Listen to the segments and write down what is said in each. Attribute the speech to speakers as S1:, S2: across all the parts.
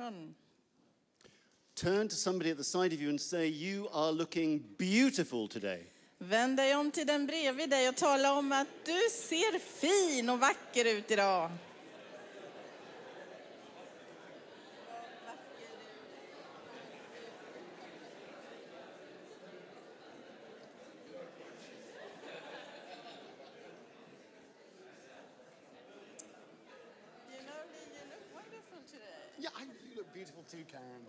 S1: an.
S2: Turn to somebody at the side of you and say, You are looking beautiful today.
S1: Vänd dig om till den bredvid dig och tala om att du ser fin och vacker ut idag.
S2: Yeah, I, you look beautiful too, Karen.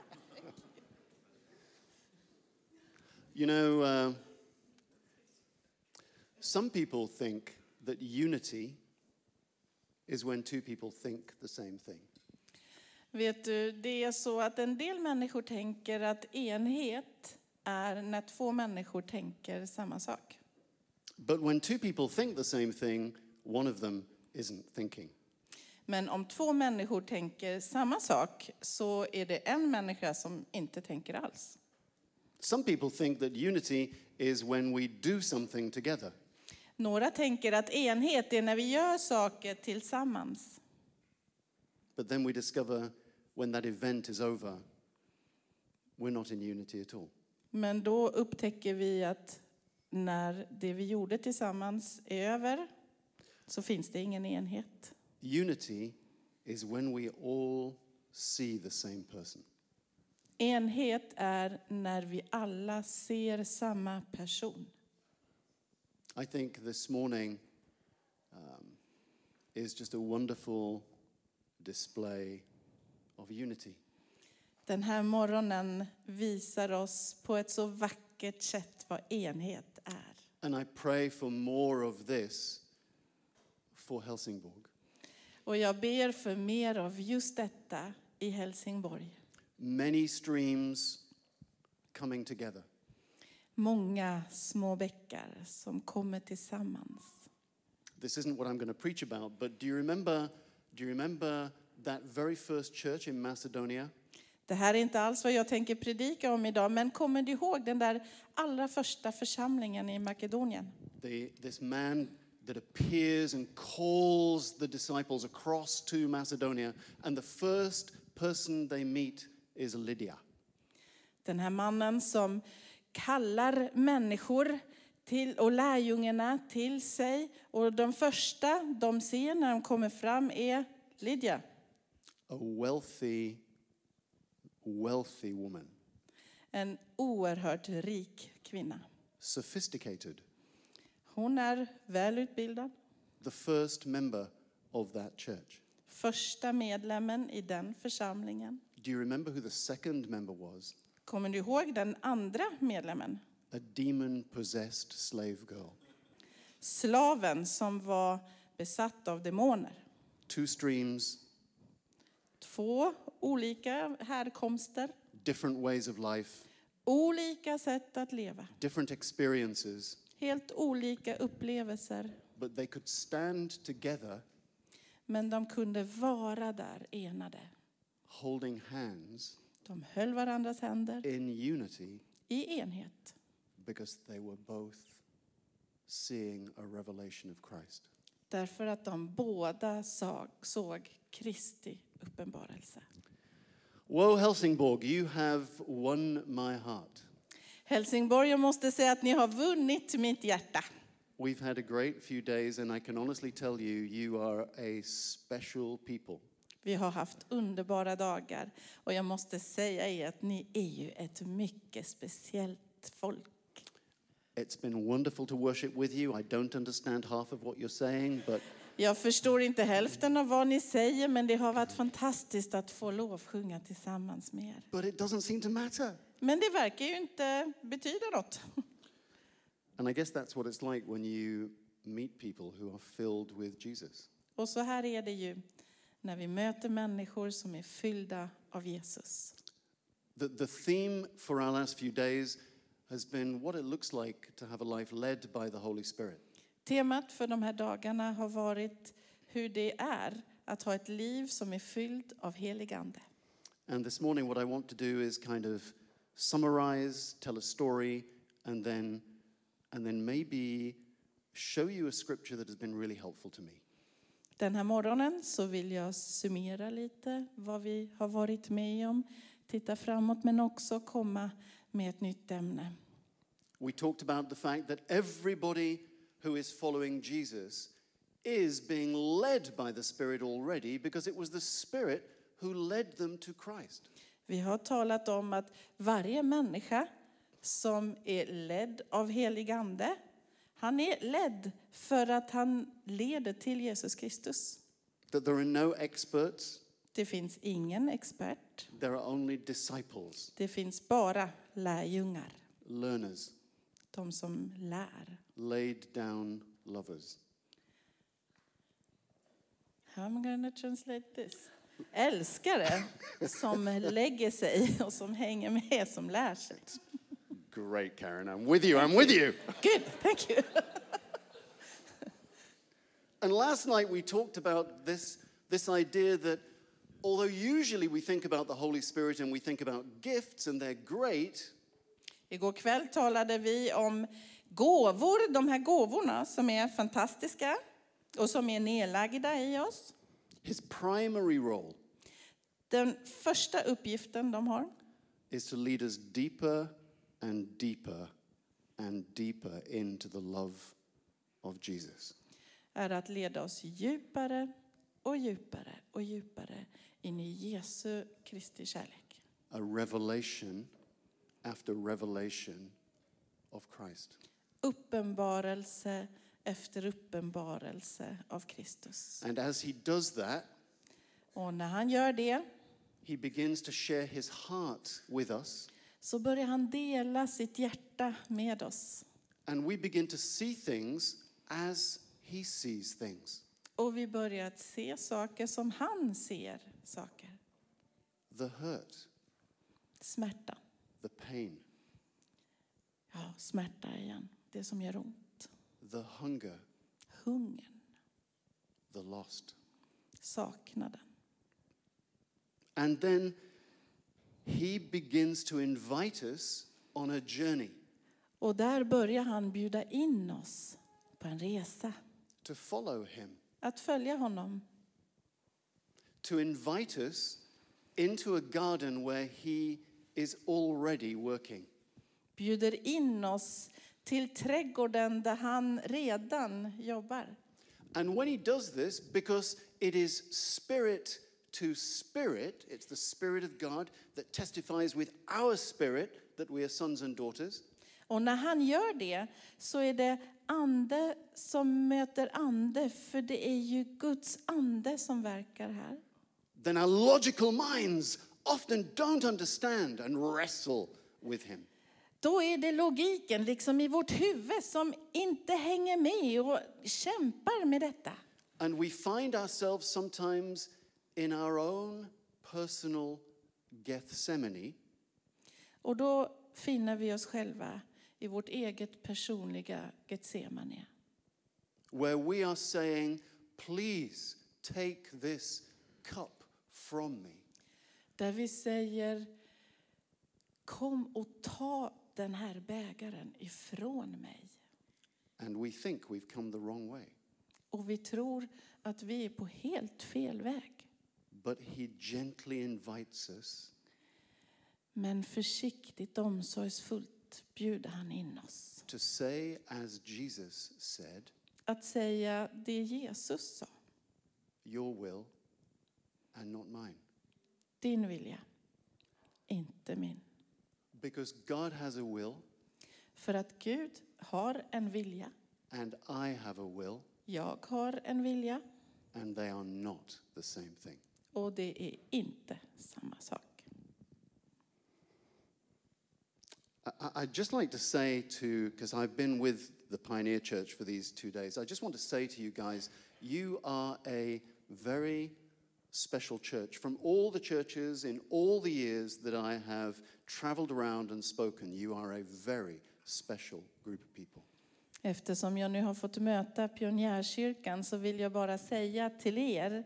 S2: you know, uh, some people think that unity is when two people think the same thing.
S1: Vet du, det är så att en del människor tänker att enhet är när två människor tänker samma sak.
S2: But when two people think the same thing, one of them isn't thinking.
S1: Men om två människor tänker samma sak så är det en människa som inte tänker alls.
S2: Some people think that unity is when we do something together.
S1: Några tänker att enhet är när vi gör saker tillsammans.
S2: But then we discover when that event is over, we're not in unity at all.
S1: Men då upptäcker vi att när det vi gjorde tillsammans är över så finns det ingen enhet.
S2: Unity is when we all see the same person.
S1: Enhet är när vi alla ser samma person.
S2: I think this morning um, is just a wonderful display of unity.
S1: Den här morgonen visar oss på ett så vackert sätt vad enhet är.
S2: And I pray for more of this for Helsingborg.
S1: Och jag ber för mer av just detta i Helsingborg.
S2: Many streams coming together.
S1: Många små bäckar som kommer tillsammans.
S2: This isn't what I'm going to preach about, but do you remember? Do you remember that very first church in Macedonia?
S1: Det här är inte alls vad jag tänker predika om idag, men kommer du ihåg den där allra första församlingen i Makedonien?
S2: The, this man that appears and calls the disciples across to Macedonia, and the first person they meet is Lydia.
S1: Den här mannen som kallar människor till, och lärjungarna till sig. Och de första de ser när de kommer fram är Lydia,
S2: a wealthy, wealthy woman,
S1: en oerhört rik kvinna.
S2: sophisticated,
S1: Hon är välutbildad,
S2: the first member of that church.
S1: första medlemmen i den församlingen.
S2: Do you remember who the second member was?
S1: Kommer du ihåg den andra medlemmen?
S2: A demon possessed slave girl.
S1: Slaven som var besatt av demoner.
S2: Two streams,
S1: Två olika härkomster,
S2: different ways of life,
S1: olika sätt att leva,
S2: different experiences,
S1: helt olika upplevelser.
S2: but they could stand together
S1: Men de kunde vara där enade.
S2: holding hands
S1: De höll varandras händer
S2: in unity
S1: i enhet.
S2: because they were both seeing a revelation of Christ.
S1: Därför att de båda såg, såg Kristi uppenbarelse.
S2: Woe Helsingborg, you have won my heart.
S1: Helsingborg, jag måste säga att ni har vunnit mitt hjärta.
S2: We've had a great few days, and I can honestly tell you, you are a special people.
S1: Vi har haft underbara dagar och jag måste säga er att ni är ju ett mycket speciellt folk.
S2: It's been wonderful to worship with you. I don't understand half of what you're saying, but
S1: Jag förstår inte hälften av vad ni säger men det har varit fantastiskt att få lovsjunga tillsammans med er.
S2: but it doesn't seem to matter.
S1: Men det verkar ju inte betyda något.
S2: And I guess that's what it's like when you meet people who are filled with Jesus.
S1: Och så här är det ju när vi möter människor som är fyllda av Jesus.
S2: The, the theme for our last few days has been what it looks like to have a life led by the Holy Spirit.
S1: Temat för de här dagarna har varit hur det är att ha ett liv som är fyllt av heligande.
S2: And this morning, what I want to do is kind of summarize, tell a story, and then, and then maybe show you a scripture that has been really helpful to me.
S1: Den här morgonen så vill jag summera lite vad vi har varit med om, titta framåt men också komma med ett nytt ämne.
S2: We talked about the fact that everybody who is following Jesus is being led by the Spirit already because it was the Spirit who led them to Christ.
S1: Vi har talat om att varje människa som är ledd av helig ande, han är ledd för att han leder till Jesus Kristus.
S2: That there are no experts,
S1: Det finns ingen expert,
S2: there are only disciples,
S1: det finns bara lärjungar,
S2: learners,
S1: de som lär.
S2: laid down lovers.
S1: I'm gonna translate this. Älskare som lägger sig och som hänger med, som lär sig.
S2: Great, Karen. I'm with you. I'm with you.
S1: Good, thank you.
S2: And last night we talked about this, this idea that although usually we think about the Holy Spirit and we think about gifts and they're great,
S1: Igår kväll talade vi om gåvor, de här gåvorna som är fantastiska och som är nedlagda i oss.
S2: his primary role
S1: Den första uppgiften de har,
S2: is to lead us deeper and deeper and deeper into the love of Jesus.
S1: är att leda oss djupare och djupare och djupare in i Jesu Kristi kärlek.
S2: A revelation after revelation of Christ.
S1: Uppenbarelse efter uppenbarelse av Kristus.
S2: And as he does that,
S1: Och när han gör det
S2: he begins to share his heart with us,
S1: så börjar han dela sitt hjärta med oss.
S2: and we begin to see things as he sees things.
S1: Och vi börjar att se saker som han ser saker.
S2: the hurt,
S1: Smärta.
S2: the pain,
S1: Ja, smärta igen. Det som gör ont.
S2: the hunger,
S1: Hungern.
S2: the lost.
S1: Saknaden.
S2: And then he begins to invite us on a journey
S1: Och där börjar han bjuda in oss på en resa.
S2: to follow him,
S1: Att följa honom.
S2: to invite us into a garden where he is already working.
S1: Bjuder in oss till trädgården där han redan jobbar.
S2: And when he does this, because it is spirit to spirit, it's the Spirit of God that testifies with our spirit that we are sons and daughters.
S1: Och när han gör det så är det ande som möter ande. För det är ju Guds ande som verkar här.
S2: then our logical minds often don't understand and wrestle with him.
S1: Då är det logiken liksom i vårt huvud som inte hänger med och kämpar med detta.
S2: And we find ourselves sometimes in our own personal Gethsemane,
S1: Och då finner vi oss själva i vårt eget personliga Getsemane.
S2: where we are saying, Please take this cup from me.
S1: Där vi säger Kom och ta den här bägaren ifrån mig.
S2: And we think we've come the wrong way.
S1: Och vi tror att vi är på helt fel väg.
S2: But he gently invites us
S1: Men försiktigt, omsorgsfullt bjuder han in oss.
S2: to say, as Jesus said,
S1: Att säga det Jesus sa,
S2: Your will and not mine.
S1: din vilja, inte min.
S2: Because God has a will
S1: För att Gud har en vilja,
S2: and I have a will,
S1: jag har en vilja
S2: and they are not the same thing.
S1: och det är inte samma sak.
S2: I- I- I'd just like to say to, because I've been with the Pioneer Church for these two days, I just want to say to you guys, you are a very special church. From all the churches in all the years that I have traveled around and spoken, you are a very special group of people.
S1: Eftersom jag nu har fått möta Pionjärkyrkan så vill jag bara säga till er.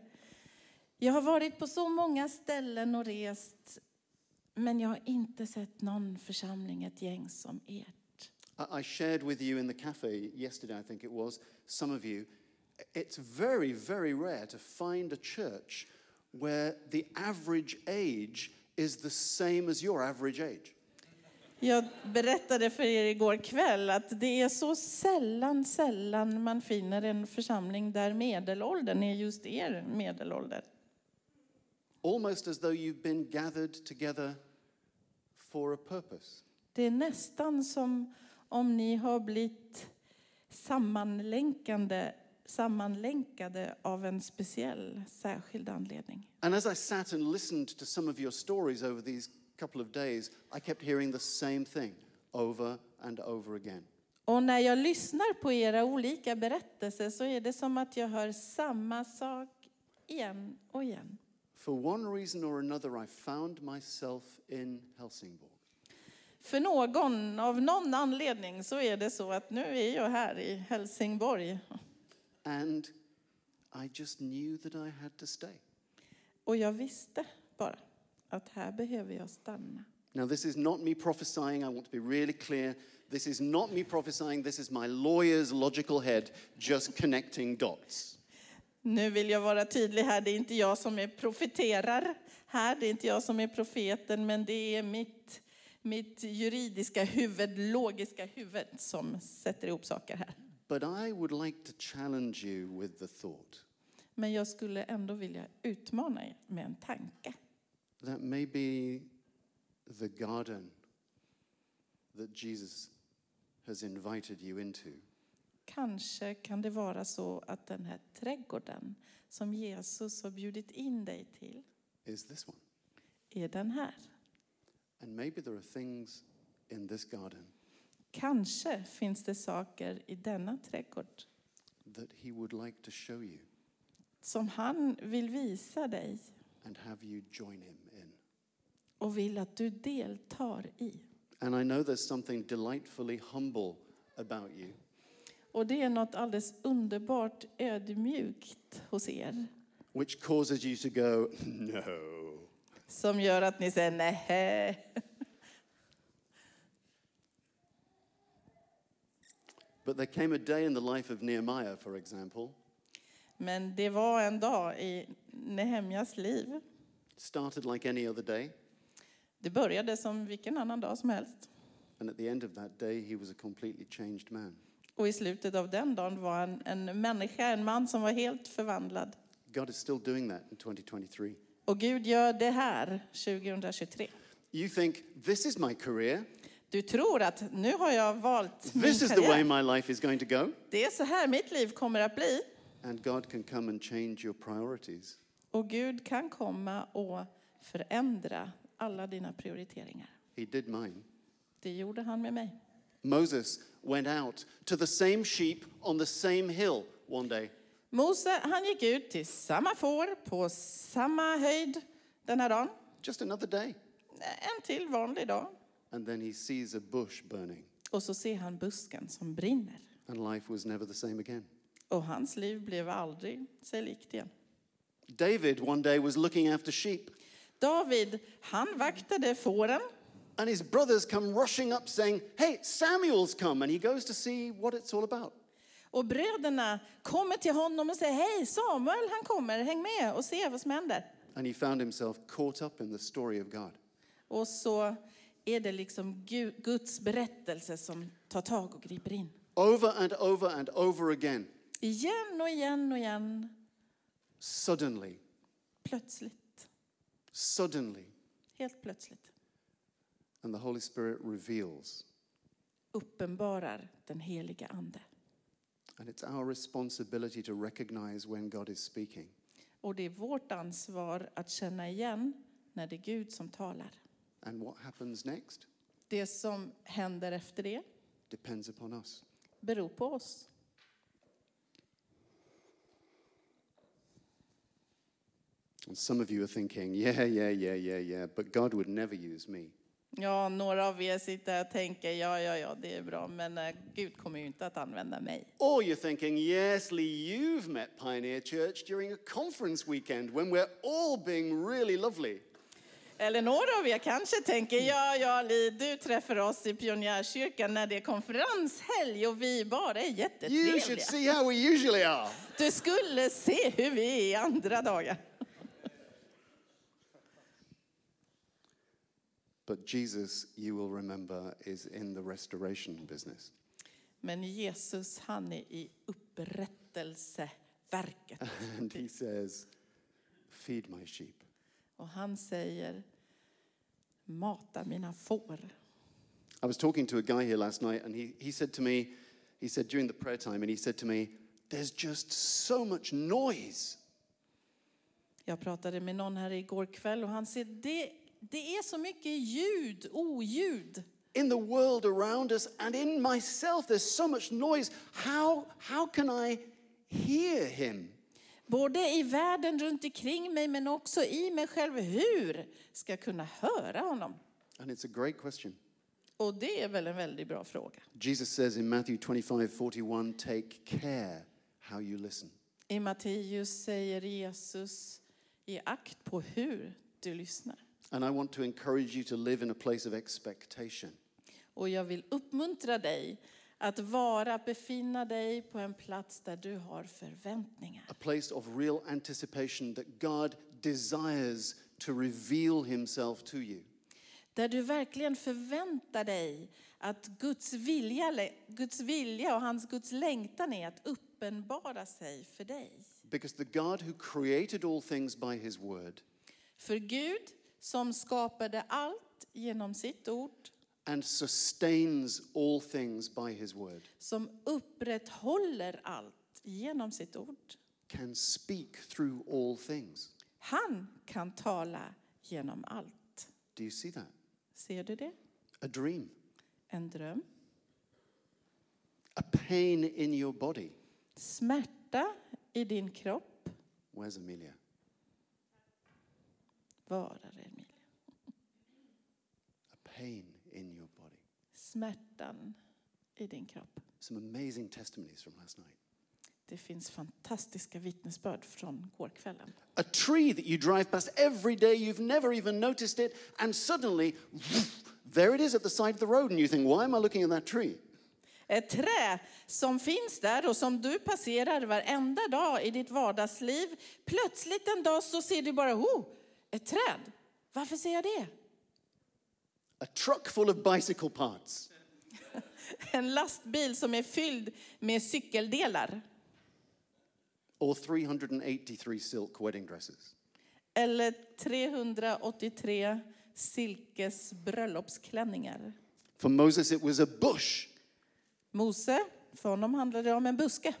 S1: Jag har varit på så många ställen och rest men jag har inte sett någon församling, ett gäng som ert.
S2: I I shared with you in the cafe yesterday, I think it was, some of you, It's very, very rare to find a church where the average age is the same as your average age.
S1: Jag berättade för er igår kväll att det är så sällan, sällan man finner en församling där medelåldern är just er medelålder.
S2: Almost as though you've been gathered together for a purpose.
S1: Det är nästan som om ni har blivit sammanlänkande, sammanlänkade av en speciell, särskild anledning.
S2: And as I sat and listened to some of your stories over these couple of days, I kept hearing the same thing over and over again.
S1: Och när jag lyssnar på era olika berättelser så är det som att jag hör samma sak igen och igen.
S2: For one reason or another, I found myself in Helsingborg.
S1: För någon, av någon anledning, så är det så att nu är jag här i Helsingborg.
S2: And I just knew that I had to stay.
S1: Och jag visste bara att här behöver jag stanna.
S2: Now, this is not me prophesying. I want to be really clear. This is not me prophesying. This is my lawyer's logical head just connecting dots.
S1: Nu vill jag vara tydlig här, det är inte jag som är profeterar här, det är inte jag som är profeten, men det är mitt, mitt juridiska huvud, logiska huvud som sätter ihop saker här.
S2: But I would like to challenge you with the thought
S1: Men jag skulle ändå vilja utmana er med en tanke.
S2: that maybe the garden that Jesus has invited you into
S1: Kanske kan det vara så att den här trädgården som Jesus har bjudit in dig till
S2: is this one.
S1: är den här.
S2: And maybe there are things in this garden
S1: Kanske finns det saker i denna trädgård
S2: that he would like to show you
S1: som han vill visa dig
S2: and have you join him in.
S1: och vill att du deltar i.
S2: And I know there's something delightfully humble about you.
S1: Och det är något alldeles underbart ödmjukt hos er
S2: which causes you to go, no.
S1: som gör att ni säger nej.
S2: But there came a day in the life of Nehemiah, for example,
S1: Men det var en dag i Nehemjas liv.
S2: started like any other day,
S1: Det började som vilken annan dag som helst.
S2: and at the end of that day, he was a completely changed man.
S1: Och i slutet av den dagen var han en människa, en man som var helt förvandlad.
S2: God is still doing that in 2023.
S1: Och Gud gör det här 2023.
S2: You think, this is my career,
S1: Du tror att nu har jag valt min
S2: this is the way
S1: karriär.
S2: my life is going to go,
S1: Det är så här mitt liv kommer att bli.
S2: and God can come and change your priorities.
S1: Och Gud kan komma och förändra alla dina prioriteringar.
S2: He did mine.
S1: Det gjorde han med mig.
S2: Moses went out to the same sheep on the same hill one day.
S1: Mose, han gick ut till samma får på samma höjd den här dagen.
S2: Just another day.
S1: En till vanlig dag.
S2: And then he sees a bush burning,
S1: Och så ser han busken som brinner.
S2: and life was never the same again.
S1: Och hans liv blev aldrig sig likt igen.
S2: David one day was looking after sheep,
S1: David, han vaktade fåren.
S2: and his brothers come rushing up saying, Hey, Samuel's come. And he goes to see what it's all about.
S1: Och bröderna kommer till honom och säger hej Samuel han kommer, häng med och se vad som händer.
S2: And he found himself caught up in the story of God.
S1: Och så är det liksom Gu- Guds berättelse som tar tag och griper in.
S2: Over and over and over again,
S1: Igen och igen och igen,
S2: suddenly,
S1: plötsligt,
S2: suddenly,
S1: helt plötsligt
S2: and the Holy Spirit reveals.
S1: uppenbarar den heliga ande.
S2: And it's our responsibility to recognize when God is speaking.
S1: Och det är vårt ansvar att känna igen när det är Gud som talar.
S2: And what happens next
S1: Det som händer efter det
S2: depends upon us.
S1: beror på oss.
S2: And some of you are thinking, yeah, yeah, yeah, yeah, yeah, but God would never use me.
S1: Ja, några av er sitter här och tänker, ja, ja, ja, det är bra, men eh, Gud kommer ju inte att använda mig.
S2: Or you're thinking, yes, Lee, you've met Pioneer Church during a conference weekend when we're all being really lovely.
S1: Eller några av er kanske tänker, ja, ja, Li, du träffar oss i Pionjärkyrkan när det är konferenshelg och vi bara är
S2: You should
S1: jättetrevliga.
S2: see how we usually are.
S1: Du skulle se hur vi är andra dagar.
S2: But Jesus, you will remember, is in the restoration business.
S1: Men Jesus, han är i upprättelseverket.
S2: And he says, Feed my sheep.
S1: Och han säger, mata mina får.
S2: I was talking to a guy here last night, and he, he said to me, he said during the prayer time, and he said to me, There's just so much noise.
S1: Jag pratade med någon här igår kväll och han säger, det, det är så mycket ljud, oljud.
S2: in the world around us and in myself there's so much noise how how can i hear him
S1: Både i världen runt omkring mig men också i mig själv. Hur ska jag kunna höra honom?
S2: and it's a great question
S1: Och det är väl en väldigt bra fråga.
S2: jesus says in matthew 25 41 take care how you listen
S1: I Matteus säger Jesus, ge akt på hur du lyssnar.
S2: and i want to encourage you to live in a place of expectation
S1: Och jag vill uppmuntra dig att vara, befinna dig på en plats där du har förväntningar.
S2: a place of real anticipation that god desires to reveal himself to you
S1: Där du verkligen förväntar dig att Guds vilja, Guds vilja och hans Guds längtan är att uppenbara sig för dig.
S2: because the god who created all things by his word
S1: För Gud som skapade allt genom sitt ord,
S2: and sustains all things by his word
S1: som upprätthåller allt genom sitt ord.
S2: can speak through all things.
S1: Han kan tala genom allt.
S2: Do you see that?
S1: Ser du det?
S2: A dream,
S1: En dröm,
S2: a pain in your body.
S1: smärta i din kropp.
S2: Where's Amelia?
S1: Varar Emilia.
S2: A pain in your body.
S1: Smärtan i din kropp.
S2: Some amazing testimonies from last night.
S1: Det finns fantastiska vittnesbörd från gårkvällen.
S2: A tree that you drive past every day, you've never even noticed it, and suddenly, there it is at the side of the road, and you think, why am I looking at that tree?
S1: Ett trä som finns där och som du passerar varenda dag i ditt vardagsliv. Plötsligt en dag så ser du bara, oh, ett träd. Varför ser jag det?
S2: A truck full of bicycle parts.
S1: En lastbil som är fylld med cykeldelar.
S2: Or 383 silk wedding dresses.
S1: Eller 383 silkes bröllopsklänningar.
S2: For Moses, it was a bush.
S1: Mose, för honom handlade det om en buske.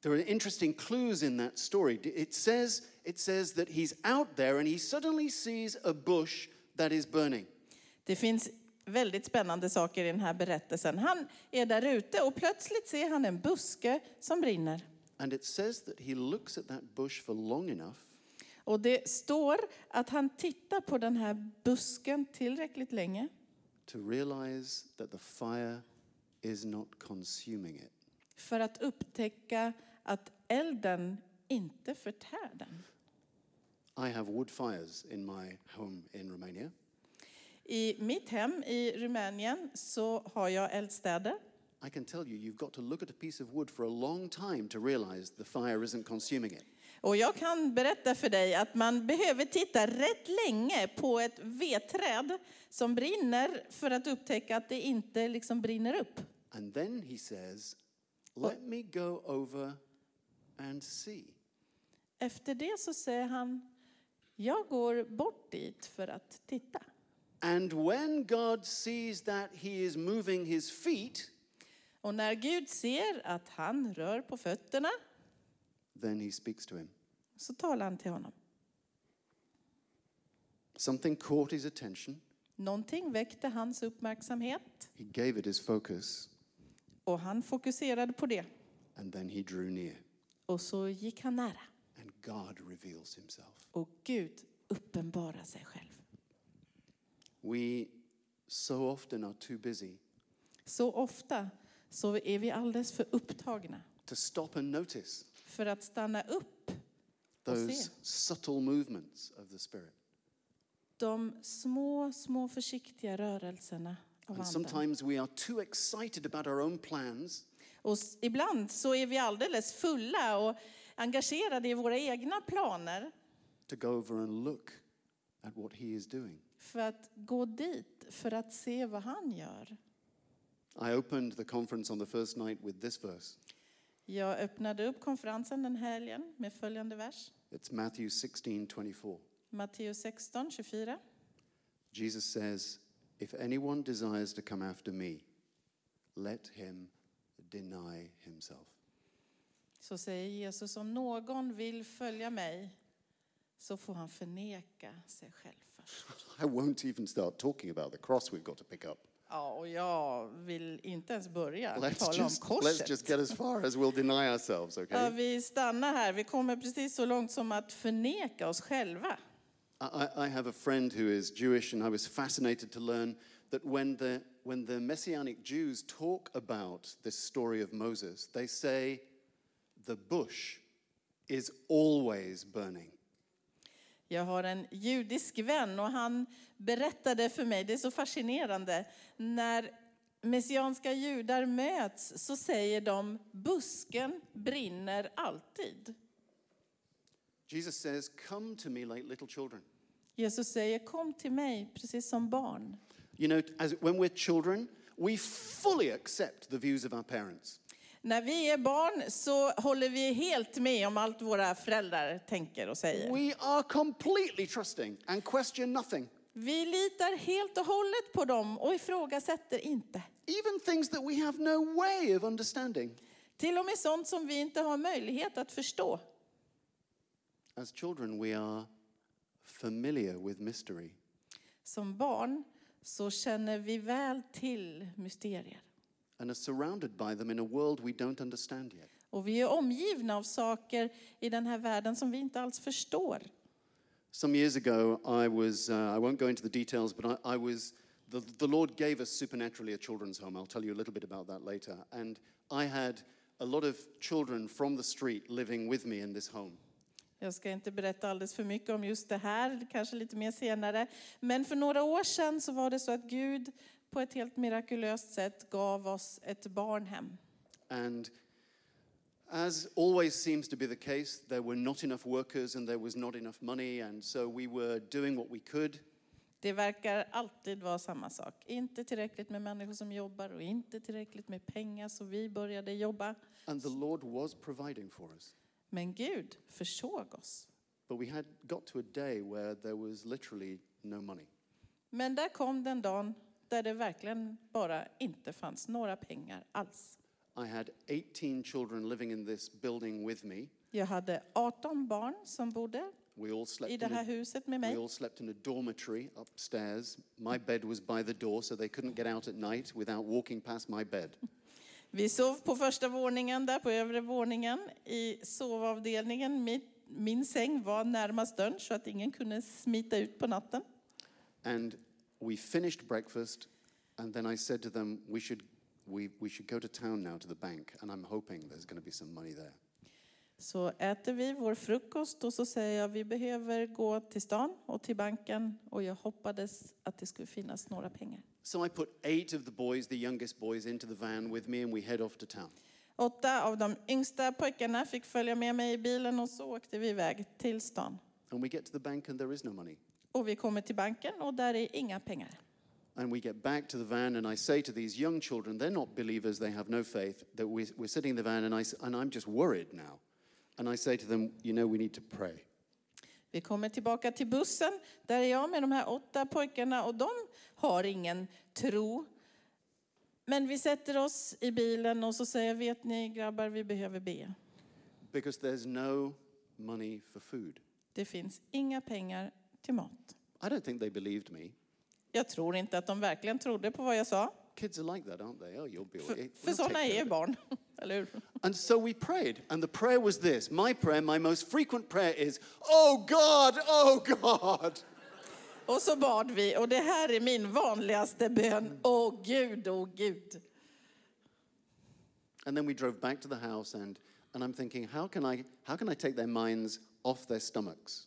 S2: There are interesting clues in that story. D- It says, it says that he's out there and he suddenly sees a bush that is burning.
S1: Det finns väldigt spännande saker i den här berättelsen. Han är där ute och plötsligt ser han en buske som brinner.
S2: And it says that he looks at that bush for long enough
S1: Och det står att han tittar på den här busken tillräckligt länge
S2: to realize that the fire is not consuming it.
S1: för att upptäcka att elden inte förtär den.
S2: I have wood fires in my home in Romania,
S1: I mitt hem i Rumänien så har jag eldstäder.
S2: I can tell you, you've got to look at a piece of wood for a long time to realize the fire isn't consuming it.
S1: Och jag kan berätta för dig att man behöver titta rätt länge på ett vedträd som brinner för att upptäcka att det inte liksom brinner upp.
S2: And then he says, Let me go over and see.
S1: Efter det så säger han, jag går bort dit för att titta.
S2: And when God sees that he is moving his feet,
S1: Och när Gud ser att han rör på fötterna
S2: then he speaks to him.
S1: så talar han till honom.
S2: Something caught his attention.
S1: Någonting väckte hans uppmärksamhet
S2: He gave it his focus,
S1: och han fokuserade på det.
S2: and then he drew near.
S1: Och så gick han nära
S2: And God reveals himself.
S1: och Gud uppenbarar sig själv.
S2: We so often are too busy
S1: Så ofta så är vi alldeles för upptagna
S2: to stop and notice
S1: för att stanna upp och se
S2: those subtle movements of the Spirit.
S1: de små, små försiktiga rörelserna av
S2: And
S1: anden.
S2: sometimes we are too excited about our own plans
S1: Och s- ibland så är vi alldeles fulla och engagerade i våra egna planer
S2: to go over and look at what he is doing.
S1: för att gå dit för att se vad han gör.
S2: I opened the conference on the first night with this verse.
S1: Jag öppnade upp konferensen den helgen med följande vers.
S2: It's Matthew 16 24.
S1: Matteus 16, 24.
S2: Jesus says, If anyone desires to come after me, let him deny himself.
S1: Så säger Jesus, om någon vill följa mig så får han förneka sig själv först.
S2: I won't even start talking about the cross we've got to pick up.
S1: Ja, och jag vill inte ens börja
S2: Let's
S1: tala om
S2: just, let's
S1: korset.
S2: just get as far as we'll deny ourselves, okay?
S1: Ja, vi stannar här. Vi kommer precis så långt som att förneka oss själva.
S2: I, I I have a friend who is Jewish, and I was fascinated to learn that when the, when the Messianic Jews talk about this story of Moses, they say the bush is always burning.
S1: Jag har en judisk vän och han berättade för mig, det är så fascinerande, när messianska judar möts så säger de busken brinner alltid.
S2: Jesus says, Come to me like little children.
S1: Jesus säger kom till mig precis som barn.
S2: You know, as, when we're children, we fully accept the views of our parents.
S1: När vi är barn så håller vi helt med om allt våra föräldrar tänker och säger.
S2: We are completely trusting and question nothing,
S1: Vi litar helt och hållet på dem och ifrågasätter inte.
S2: even things that we have no way of understanding.
S1: Till och med sånt som vi inte har möjlighet att förstå.
S2: As children, we are familiar with mystery.
S1: Som barn så känner vi väl till mysterier.
S2: and are surrounded by them in a world we don't understand yet.
S1: Och vi är omgivna av saker i den här världen som vi inte alls förstår.
S2: Some years ago, I was, uh, I won't go into the details, but I, I was, the, the Lord gave us supernaturally a children's home. I'll tell you a little bit about that later. And I had a lot of children from the street living with me in this home.
S1: Jag ska inte berätta alldeles för mycket om just det här, kanske lite mer senare. Men för några år sedan så var det så att Gud på ett helt mirakulöst sätt gav oss ett barnhem.
S2: And as always seems to be the case, there were not enough workers and there was not enough money. And so we were doing what we could.
S1: Det verkar alltid vara samma sak. Inte tillräckligt med människor som jobbar och inte tillräckligt med pengar så vi började jobba.
S2: And the Lord was providing for us.
S1: Men Gud försåg oss.
S2: But we had got to a day where there was literally no money.
S1: Men där kom den dagen där det verkligen bara inte fanns några pengar alls.
S2: I had 18 children living in this building with me.
S1: Jag hade 18 barn som bodde
S2: We all slept
S1: i det
S2: in
S1: här
S2: a,
S1: huset med
S2: we
S1: mig.
S2: all slept in a dormitory upstairs. My bed was by the door, so they couldn't get out at night without walking past my bed.
S1: Vi sov på första våningen, där på övre våningen i sovavdelningen. Min, min säng var närmast dörren så att ingen kunde smita ut på natten.
S2: And we finished breakfast, and then I said to them, "We should, we, we should go to town now to the bank, and I'm hoping there's going to be some money there."
S1: Så äter vi vår frukost och så säger jag vi behöver gå till stan och till banken och jag hoppades att det skulle finnas några pengar.
S2: So I put eight of the boys, the youngest boys, into the van with me, and we head off to town.
S1: Åtta av de yngsta pojkarna fick följa med mig i bilen och så åkte vi iväg till stan.
S2: And we get to the bank, and there is no money.
S1: Och vi kommer till banken och där är inga pengar.
S2: And we get back to the van, and I say to these young children, they're not believers, they have no faith, that we, we're sitting in the van, and, I, s- and I'm just worried now. And I say to them, You know, we need to pray.
S1: Vi kommer tillbaka till bussen. Där är jag med de här åtta pojkarna och de har ingen tro. Men vi sätter oss i bilen och så säger jag, vet ni grabbar, vi behöver be.
S2: Because there's no money for food.
S1: Det finns inga pengar till mat.
S2: I don't think they believed me.
S1: Jag tror inte att de verkligen trodde på vad jag sa.
S2: Kids are like that, aren't they? Oh, you'll be all
S1: För,
S2: right.
S1: för
S2: We'll take
S1: sådana
S2: care
S1: är
S2: of it."
S1: barn, eller hur?
S2: And so we prayed, and the prayer was this My prayer, my most frequent prayer is, Oh God, oh God.
S1: Och så bad vi, och det här är min vanligaste bön. Åh Gud, åh Gud.
S2: And then we drove back to the house, and, and I'm thinking, how can, I, how can I take their minds off their stomachs?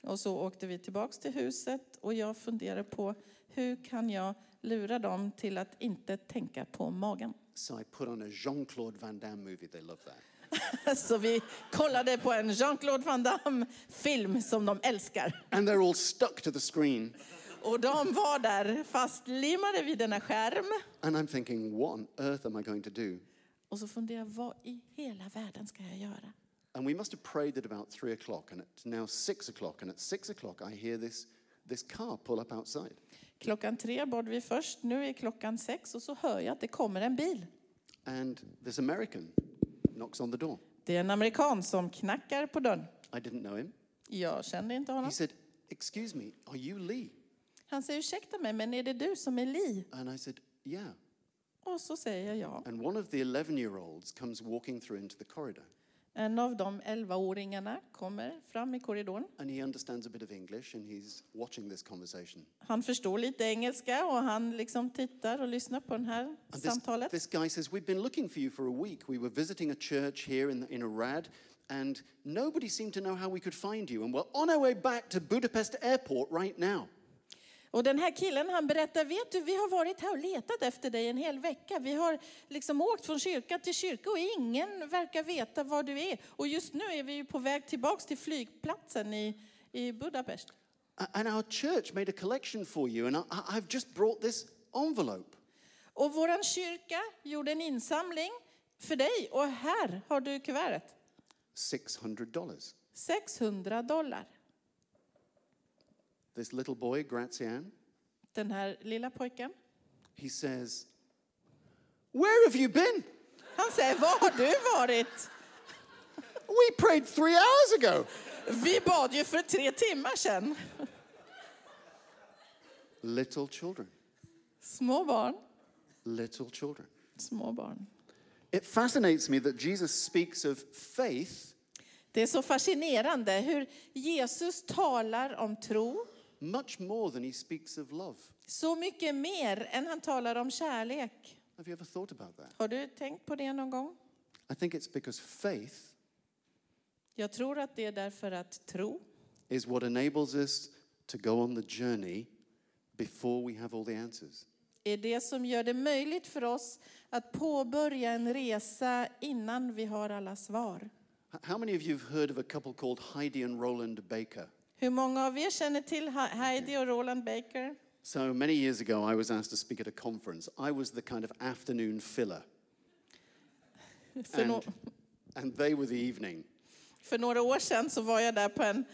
S1: Och så åkte vi tillbaks till huset och jag funderade på hur kan jag lura dem till att inte tänka på magen.
S2: So I put on a Jean Claude Van Damme movie. They love that.
S1: Så vi kollade på en Jean-Claude Van Damme-film som de älskar.
S2: And they're all stuck to the screen.
S1: Och de var där fastlimmade vid denna skärm.
S2: And I'm thinking, what on earth am I going to do?
S1: Och så funderar jag, vad i hela världen ska jag göra?
S2: And we must have prayed at about three o'clock, and it's now six o'clock. And at six o'clock, I hear this, this car pull up outside.
S1: Klockan tre bad vi först, nu är klockan sex och så hör jag att det kommer en bil.
S2: And this American knocks on the door.
S1: Det är en amerikan som knackar på dörren.
S2: I didn't know him.
S1: Jag kände inte
S2: He
S1: honom.
S2: said, Excuse me, are you Lee?
S1: Han säger ursäkta mig, men är det du som är Li?
S2: And I said, Yeah.
S1: Och så säger jag ja.
S2: And one of the 11 year olds comes walking through into the corridor.
S1: En av de elvaåringarna kommer fram i korridoren.
S2: And he understands a bit of English and he's watching this conversation.
S1: Han förstår lite engelska och han liksom tittar och lyssnar på det här
S2: And this,
S1: samtalet.
S2: this guy says, We've been looking for you for a week. We were visiting a church here in, in Arad, and nobody seemed to know how we could find you. And we're on our way back to Budapest airport right now.
S1: Och den här killen han berättar, vet du vi har varit här och letat efter dig en hel vecka. Vi har liksom åkt från kyrka till kyrka och ingen verkar veta var du är. Och just nu är vi ju på väg tillbaks till flygplatsen i, i Budapest.
S2: A- And our church made a collection for you, and I, I- I've just brought this envelope.
S1: Och våran kyrka gjorde en insamling för dig och här har du kuvertet.
S2: $600.
S1: 600 dollar.
S2: This little boy, Grazian,
S1: Den här lilla pojken.
S2: he says, Where have you been?
S1: Han säger, var har du varit?
S2: We prayed three hours ago.
S1: Vi bad ju för tre timmar sedan.
S2: Little children,
S1: Små barn,
S2: little children.
S1: små barn.
S2: It fascinates me that Jesus speaks of faith
S1: Det är så fascinerande hur Jesus talar om tro
S2: much more than he speaks of love.
S1: så mycket mer än han talar om kärlek.
S2: Have you ever thought about that?
S1: Har du tänkt på det någon gång?
S2: I think it's because faith
S1: Jag tror att det är därför att tro,
S2: is what enables us to go on the journey before we have all the answers.
S1: är det som gör det möjligt för oss att påbörja en resa innan vi har alla svar.
S2: H- How many of you have heard of a couple called Heidi and Roland Baker?
S1: Hur många av er känner till Ha- Heidi och Roland Baker?
S2: So many years ago, I was asked to speak at a conference. I was the kind of afternoon filler,
S1: För,
S2: and,
S1: no,
S2: and they were the evening.
S1: för några år sedan så var jag där på en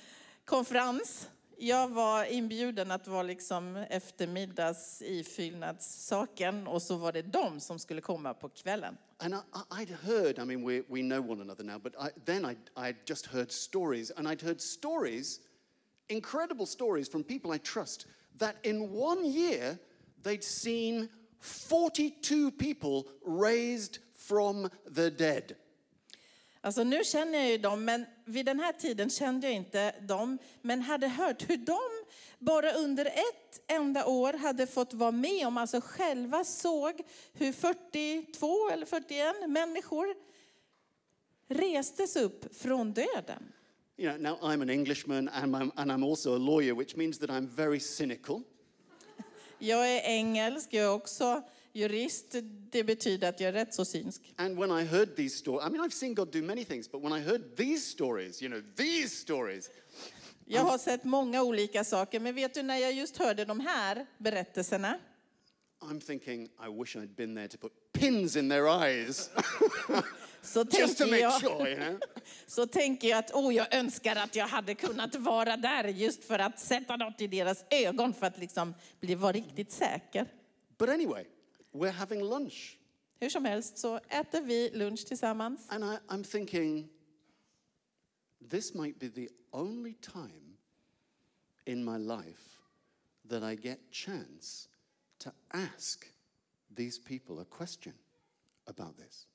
S1: konferens. Jag var inbjuden att vara liksom eftermiddags ifyllnadssaken och så var det de som skulle komma på kvällen.
S2: And I, I- I'd heard, I mean, we, we know one another now, but I, then I, I'd just heard stories, and I'd heard stories, incredible stories from people I trust, that in one year they'd seen 42 people raised from the dead.
S1: Alltså nu känner jag ju dem, men vid den här tiden kände jag inte dem. Men hade hört hur de bara under ett enda år hade fått vara med om, alltså själva såg hur 42 eller 41 människor restes upp från döden.
S2: You know, now I'm an Englishman and I'm, and I'm also a lawyer, which means that I'm very cynical.
S1: Jag är engelsk, jag är också jurist. Det betyder att jag är rätt så synsk.
S2: And when I heard these stories, I mean, I've seen God do many things, but when I heard these stories, you know, these stories,
S1: Jag har sett många olika saker, men vet du när jag just hörde de här berättelserna
S2: I'm thinking, I wish I'd been there to put pins in their eyes
S1: så
S2: just to
S1: tänkte
S2: make
S1: jag...
S2: sure, you know?
S1: så tänker jag att oh, jag önskar att jag hade kunnat vara där just för att sätta något i deras ögon för att liksom bli, vara riktigt säker.
S2: But anyway, we're having lunch.
S1: Hur som helst så äter vi lunch tillsammans
S2: And I, I'm thinking, this might be the only time in my life that I get chance to ask these people a question about this.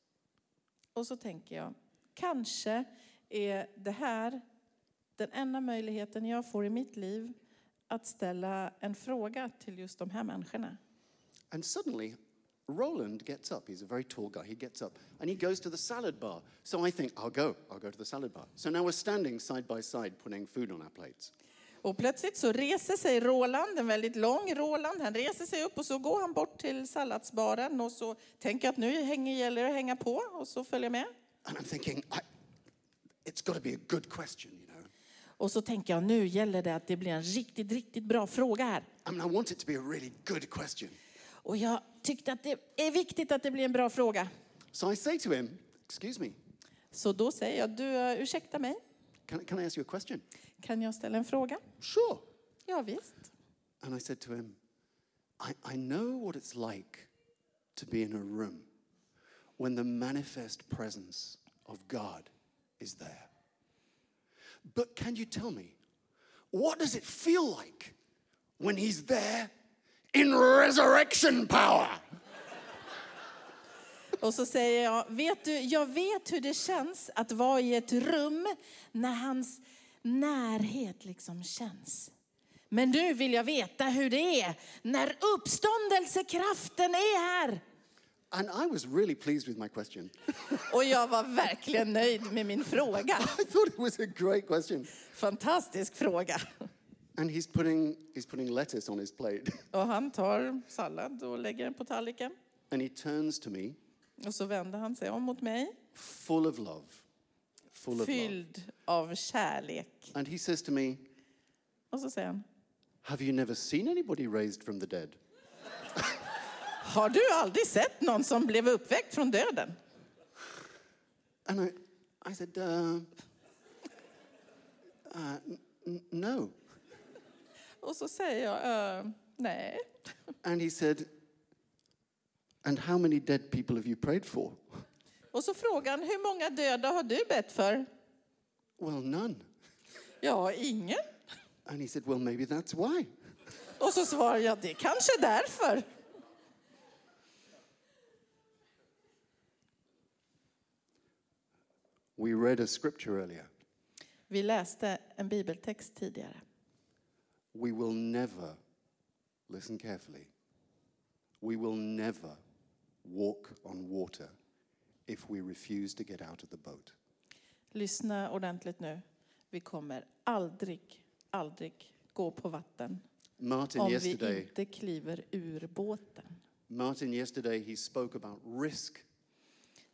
S1: och så tänker jag kanske är det här den enda möjligheten jag får i mitt liv att ställa en fråga till just de här människorna.
S2: And suddenly, Roland gets up. He's a very tall guy. He gets up and he goes to the salad bar. So I think, I'll go. I'll go to the salad bar. So now we're standing side by side putting food on our plates.
S1: Och plötsligt så reser sig Roland, en väldigt lång Roland, han reser sig upp och så går han bort till salladsbaren och så tänker jag att nu hänger, gäller det att hänga på och så följer jag med.
S2: And I'm thinking, I, it's got to be a good question, you know.
S1: Och så tänker jag, nu gäller det att det blir en riktigt, riktigt bra fråga här.
S2: I mean, I want it to be a really good question.
S1: Och jag tyckte att det är viktigt att det blir en bra fråga.
S2: So I say to him, Excuse me,
S1: Så då säger jag, du eh, ursäkta mig,
S2: can, can I ask you a question?
S1: kan jag ställa en fråga?
S2: Sure.
S1: Ja, visst.
S2: And I said to him, I, I know what it's like to be in a room when the manifest presence of God is there. But can you tell me, what does it feel like when He's there in resurrection power?
S1: Och så säger jag, vet du, jag vet hur det känns att vara i ett rum när hans närhet liksom känns. Men nu vill jag veta hur det är när uppståndelsekraften är här.
S2: And I was really pleased with my question.
S1: Och jag var verkligen nöjd med min fråga.
S2: I thought it was a great question.
S1: Fantastisk fråga.
S2: And he's putting, he's putting lettuce on his plate.
S1: Och han tar sallad och lägger den på tallriken.
S2: And he turns to me,
S1: Och så vänder han sig om mot mig,
S2: full of love. Full of love.
S1: fylld av kärlek.
S2: And he says to me,
S1: Och så säger han,
S2: Have you never seen anybody raised from the dead?
S1: har du aldrig sett någon som blev uppväckt från döden?
S2: And I, I said, uh, uh, n- n- No.
S1: Och så säger jag, "Eh, nej.
S2: And he said, And how many dead people have you prayed for?
S1: Och så frågar han, hur många döda har du bett för?
S2: Well, none.
S1: Ja, ingen.
S2: And he said, Well, maybe that's why.
S1: Och så svarar jag, det är kanske därför.
S2: We read a scripture earlier.
S1: Vi läste en bibeltext tidigare.
S2: We will never, listen carefully, we will never walk on water if we refuse to get out of the boat.
S1: Lyssna ordentligt nu. Vi kommer aldrig, aldrig gå på vatten
S2: Martin
S1: om vi
S2: yesterday
S1: inte kliver ur båten.
S2: Martin, yesterday, he spoke about risk.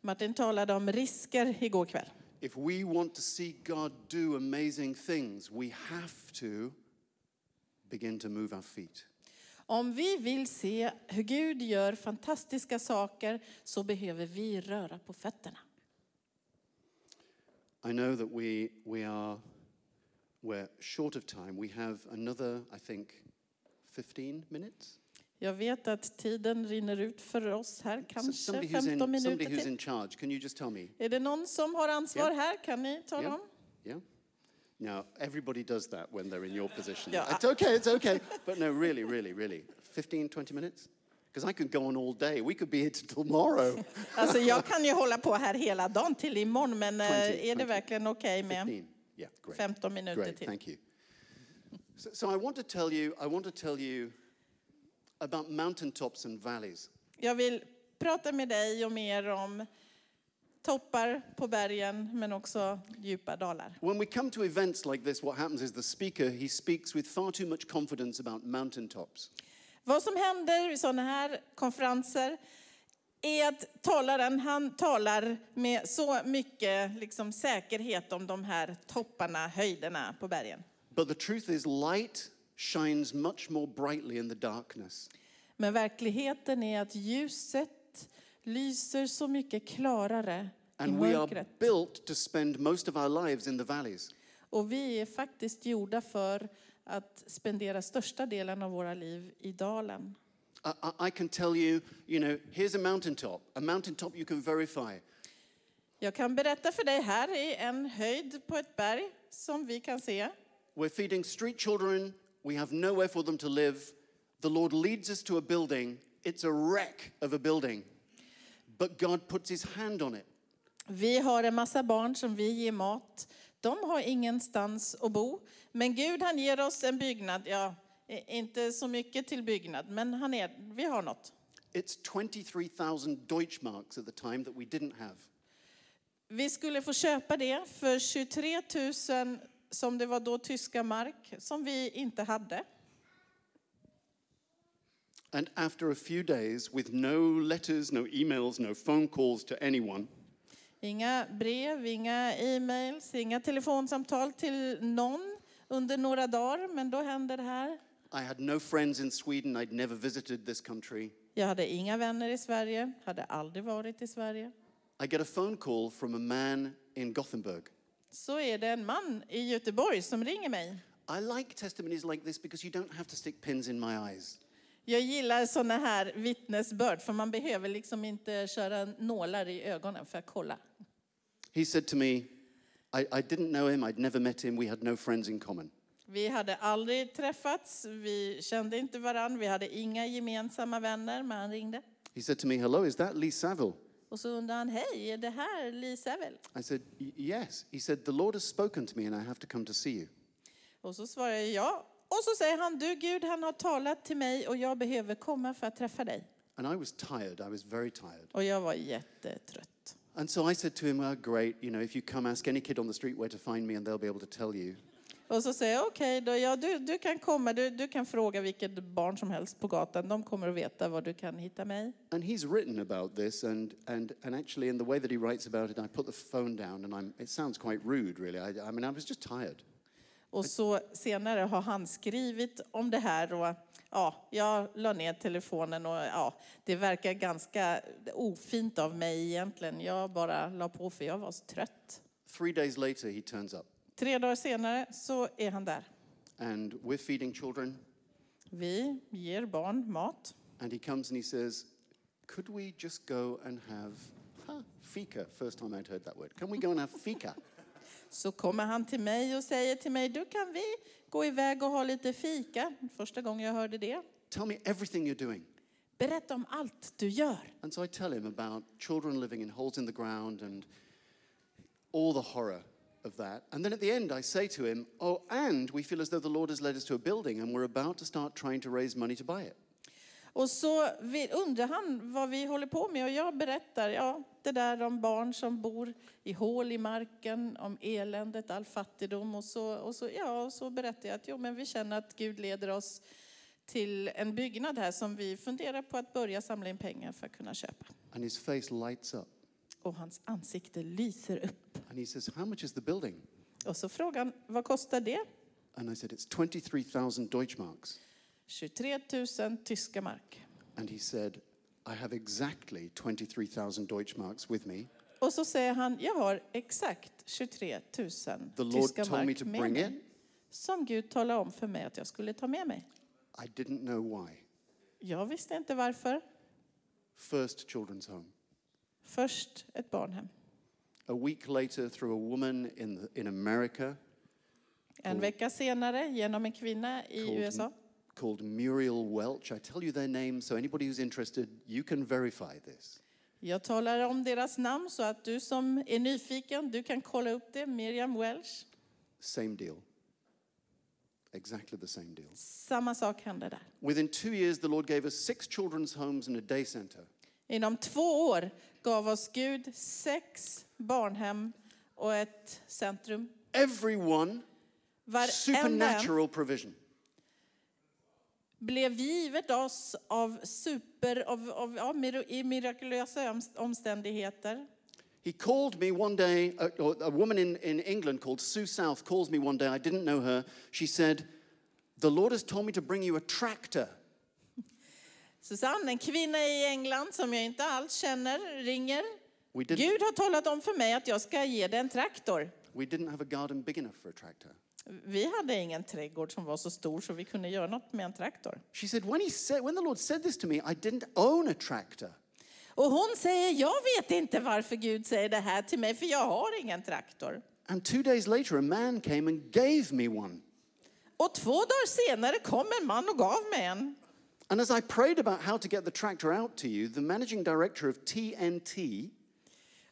S1: Martin talade om risker igår kväll.
S2: If we want to see God do amazing things, we have to begin to move our feet.
S1: Om vi vill se hur Gud gör fantastiska saker så behöver vi röra på fötterna.
S2: I know that we, we are we're short of time. We have another, I think, 15 minutes.
S1: Jag vet att tiden rinner ut för oss här,
S2: S-
S1: kanske
S2: somebody who's,
S1: 15
S2: in, somebody
S1: minuter
S2: who's
S1: till.
S2: in charge, can you just tell me?
S1: Är det någon som har ansvar
S2: Ja.
S1: här? Kan ni tala
S2: Ja.
S1: om?
S2: Yeah? Now, everybody does that when they're in your position.
S1: Yeah, I-
S2: It's okay, it's okay. but no, really, really, really. 15, 20 minutes? Because I could go on all day. We could be here till tomorrow.
S1: Alltså, jag kan ju hålla på här hela dagen till imorgon, men eh,
S2: 20,
S1: är det
S2: 20.
S1: verkligen okej med
S2: 15. Yeah, great.
S1: 15 minuter
S2: Great,
S1: till?
S2: thank you. So, so I want to tell you, I want to tell you about mountaintops and valleys.
S1: Jag vill prata med dig och mer om toppar på bergen, men också djupa dalar.
S2: When we come to events like this, what happens is the speaker, he speaks with far too much confidence about mountaintops.
S1: Vad som händer vid sådana här konferenser är att talaren han talar med så mycket liksom, säkerhet om de här topparna, höjderna på bergen.
S2: But the truth is, light shines much more brightly in the darkness.
S1: Men verkligheten är att ljuset lyser så mycket klarare i
S2: And we are
S1: mörkret.
S2: built to spend most of our lives in the valleys.
S1: Och vi är faktiskt gjorda för att spendera största delen av våra liv i dalen.
S2: I, I, I can tell you, you know, here's a mountaintop, a mountaintop you can verify.
S1: Jag kan berätta för dig, här är en höjd på ett berg som vi kan se.
S2: We're feeding street children. We have nowhere for them to live. The Lord leads us to a building. It's a wreck of a building. But God puts his hand on it.
S1: Vi har en massa barn som vi ger mat. De har ingenstans att bo. Men Gud han ger oss en byggnad. Ja, i- inte så mycket till byggnad, men han är, vi har något.
S2: It's 23,000 Deutschmarks at the time that we didn't have.
S1: Vi skulle få köpa det för 23 000, som det var då, tyska mark, som vi inte hade.
S2: And after a few days, with no letters, no emails, no phone calls to anyone,
S1: Inga brev, inga e-mails, inga telefonsamtal till någon under några dagar, men då händer det här.
S2: I had no friends in Sweden. I'd never visited this country.
S1: Jag hade inga vänner i Sverige, hade aldrig varit i Sverige.
S2: I get a phone call from a man in Gothenburg.
S1: Så är det en man i Göteborg som ringer mig.
S2: I like testimonies like this because you don't have to stick pins in my eyes.
S1: Jag gillar såna här vittnesbörd, för man behöver liksom inte köra nålar i ögonen för att kolla.
S2: He said to me, I, I didn't know him, I'd never met him, we had no friends in common.
S1: Vi hade aldrig träffats, vi kände inte varann, vi hade inga gemensamma vänner, men han ringde.
S2: He said to me, Hello, is that Lee Saville?
S1: Och så undrade han, hej, är det här Lisa väl?
S2: I said, "Y- Yes. He said, The Lord has spoken to me and I have to come to see you.
S1: Och så svarade jag ja. Och så säger han, du Gud, han har talat till mig och jag behöver komma för att träffa dig.
S2: And I was tired, I was very tired.
S1: Och jag var jättetrött.
S2: And so I said to him, Oh, great, you know, if you come, ask any kid on the street where to find me and they'll be able to tell you.
S1: Och så säger jag, okej då, ja, du, du kan komma, du, du kan fråga vilket barn som helst på gatan, de kommer att veta var du kan hitta mig.
S2: And he's written about this, and, and, and actually, in the way that he writes about it, I put the phone down, and I'm, it sounds quite rude, really. I, I mean, I was just tired.
S1: Och så senare har han skrivit om det här och ja, jag la ner telefonen och ja, det verkar ganska ofint av mig egentligen. Jag bara la på för jag var så trött.
S2: Three days later, he turns up,
S1: Tre dagar senare så är han där.
S2: and we're feeding children,
S1: Vi ger barn mat.
S2: and he comes and he says, Could we just go and have huh, fika? First time I'd heard that word. Can we go and have fika?
S1: Så kommer han till mig och säger till mig, du kan vi gå iväg och ha lite fika? Första gången jag hörde det.
S2: Tell me everything you're doing.
S1: Berätta om allt du gör.
S2: And so I tell him about children living in holes in the ground and all the horror of that. And then at the end, I say to him, Oh, and we feel as though the Lord has led us to a building and we're about to start trying to raise money to buy it.
S1: Och så vi- undrar han vad vi håller på med och jag berättar, ja, det där om barn som bor i hål i marken, om eländet, all fattigdom och så, och så, ja, och så berättar jag att jo, men vi känner att Gud leder oss till en byggnad här som vi funderar på att börja samla in pengar för att kunna köpa.
S2: And his face lights up
S1: Och hans ansikte lyser upp.
S2: and he says, How much is the building?
S1: Och så frågar han, vad kostar det?
S2: And I said, It's 23,000 Deutschmarks.
S1: 23 000 tyska mark.
S2: And he said, I have exactly 23,000 Deutschmarks with me.
S1: Och så säger han, jag har exakt 23 000
S2: The Lord
S1: tyska
S2: told me
S1: mark
S2: to
S1: med
S2: bring it.
S1: mig. Som Gud talade om för mig att jag skulle ta med mig.
S2: I didn't know why.
S1: Jag visste inte varför.
S2: First children's home.
S1: Först ett barnhem.
S2: A week later, through a woman in, the, in America,
S1: En vecka senare genom en kvinna i
S2: Called-
S1: USA.
S2: called Muriel Welch. I tell you their name, so anybody who's interested, you can verify this.
S1: Jag talar om deras namn så att du som är nyfiken, du kan kolla upp det. Miriam Welsh.
S2: Same deal. Exactly the same deal.
S1: Samma sak hände där.
S2: Within two years, the Lord gave us six children's homes and a day center.
S1: Inom två år gav oss Gud sex barnhem och ett centrum.
S2: Everyone,
S1: Varenda en
S2: supernatural provision.
S1: blev givet oss av super, av, av, ja, mir- i mirakulösa öms- omständigheter.
S2: He called me one day, a, or a woman in, in England called Sue South calls me one day. I didn't know her. She said, The Lord has told me to bring you a tractor.
S1: Susanne, en kvinna i England som jag inte alls känner, ringer.
S2: We didn't,
S1: Gud har talat om för mig att jag ska ge dig en traktor.
S2: we didn't have a garden big enough for a tractor.
S1: Vi hade ingen trädgård som var så stor så vi kunde göra något med en traktor.
S2: She said, when, he said, when the Lord said this to me, I didn't own a tractor.
S1: Och hon säger, jag vet inte varför Gud säger det här till mig för jag har ingen traktor.
S2: And two days later, a man came and gave me one.
S1: Och två dagar senare kom en man och gav mig en.
S2: And as I prayed about how to get the tractor out to you, the managing director of TNT,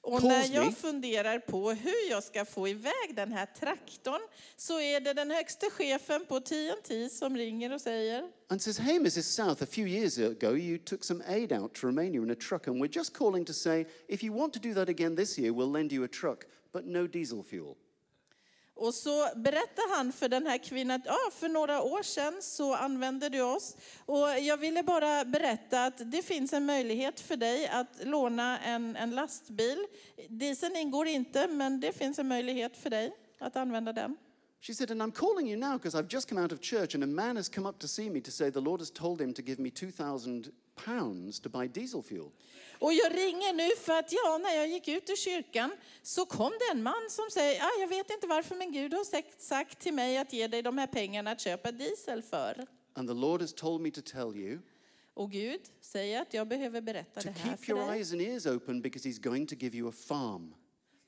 S1: Och
S2: Calls
S1: när
S2: me.
S1: jag funderar på hur jag ska få iväg den här traktorn så är det den högste chefen på TNT som ringer och säger
S2: and says, Hey, Mrs. South, a few years ago you took some aid out to Romania in a truck, and we're just calling to say if you want to do that again this year, we'll lend you a truck, but no diesel fuel.
S1: Och så berättar han för den här kvinnan att ja, för några år sedan så använde du oss. Och jag ville bara berätta att det finns en möjlighet för dig att låna en, en lastbil. Dieseln ingår inte, men det finns en möjlighet för dig att använda den.
S2: She said, And I'm calling you now because I've just come out of church and a man has come up to see me to say the Lord has told him to give me 2,000 pounds to buy diesel fuel.
S1: Och jag ringer nu för att ja, när jag gick ut ur kyrkan så kom det en man som säger, ah, jag vet inte varför men Gud har sagt, sagt till mig att ge dig de här pengarna att köpa diesel för.
S2: And the Lord has told me to tell you
S1: Och Gud säger att jag behöver berätta
S2: to
S1: det här
S2: keep
S1: för
S2: your
S1: dig.
S2: eyes and ears open because he's going to give you a farm.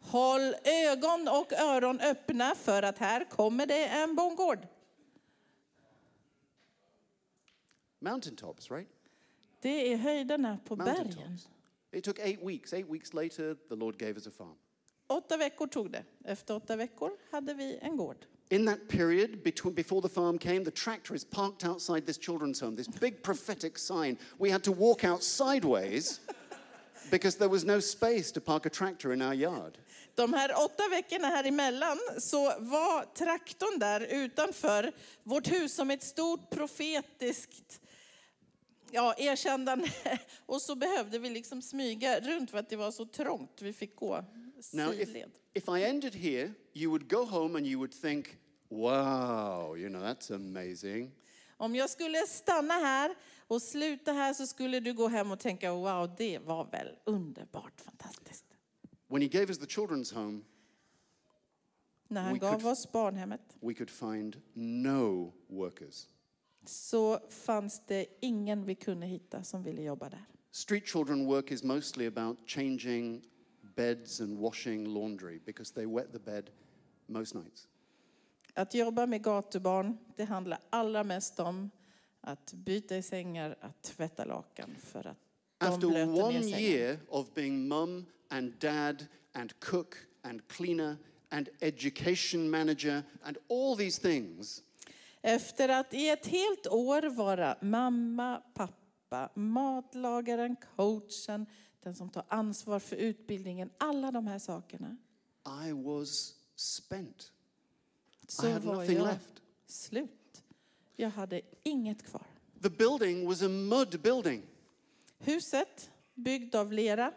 S1: Håll ögon och öron öppna för att här kommer det en bondgård.
S2: Mountaintops, right?
S1: Det är höjderna på bergen.
S2: Mountaintops. It took eight weeks. Eight weeks later, the Lord gave us a farm.
S1: Åtta veckor tog det. Efter åtta veckor hade vi en gård.
S2: In that period, between, before the farm came, the tractor is parked outside this children's home, this big prophetic sign. We had to walk out sideways because there was no space to park a tractor in our yard.
S1: De här åtta veckorna här emellan så var traktorn där utanför vårt hus som ett stort profetiskt ja, erkännande. Och så behövde vi liksom smyga runt för att det var så trångt. Vi fick gå
S2: Now, if,
S1: sidled.
S2: if I ended here, you would go home and you would think, wow, you know, that's amazing.
S1: Om jag skulle stanna här och sluta här så skulle du gå hem och tänka wow, det var väl underbart fantastiskt.
S2: When he gave us the children's home,
S1: När han
S2: We
S1: gav
S2: could-
S1: oss barnhemmet
S2: we could find no workers.
S1: så fanns det ingen vi kunde hitta som ville jobba där.
S2: Street children work is mostly about changing beds and washing laundry because they wet the bed most nights.
S1: Att jobba med gatubarn, det handlar allra mest om att byta i sängar, att tvätta lakan för att de
S2: After
S1: blöter ner
S2: one
S1: sängen.
S2: year of being mum and dad and cook and cleaner and education manager and all these things,
S1: Efter att i ett helt år vara mamma, pappa, matlagaren, coachen, den som tar ansvar för utbildningen, alla de här sakerna,
S2: I was spent. I
S1: så
S2: had
S1: var
S2: nothing
S1: jag
S2: left.
S1: slut. Jag hade inget kvar.
S2: The building was a mud building
S1: Huset, byggd av lera,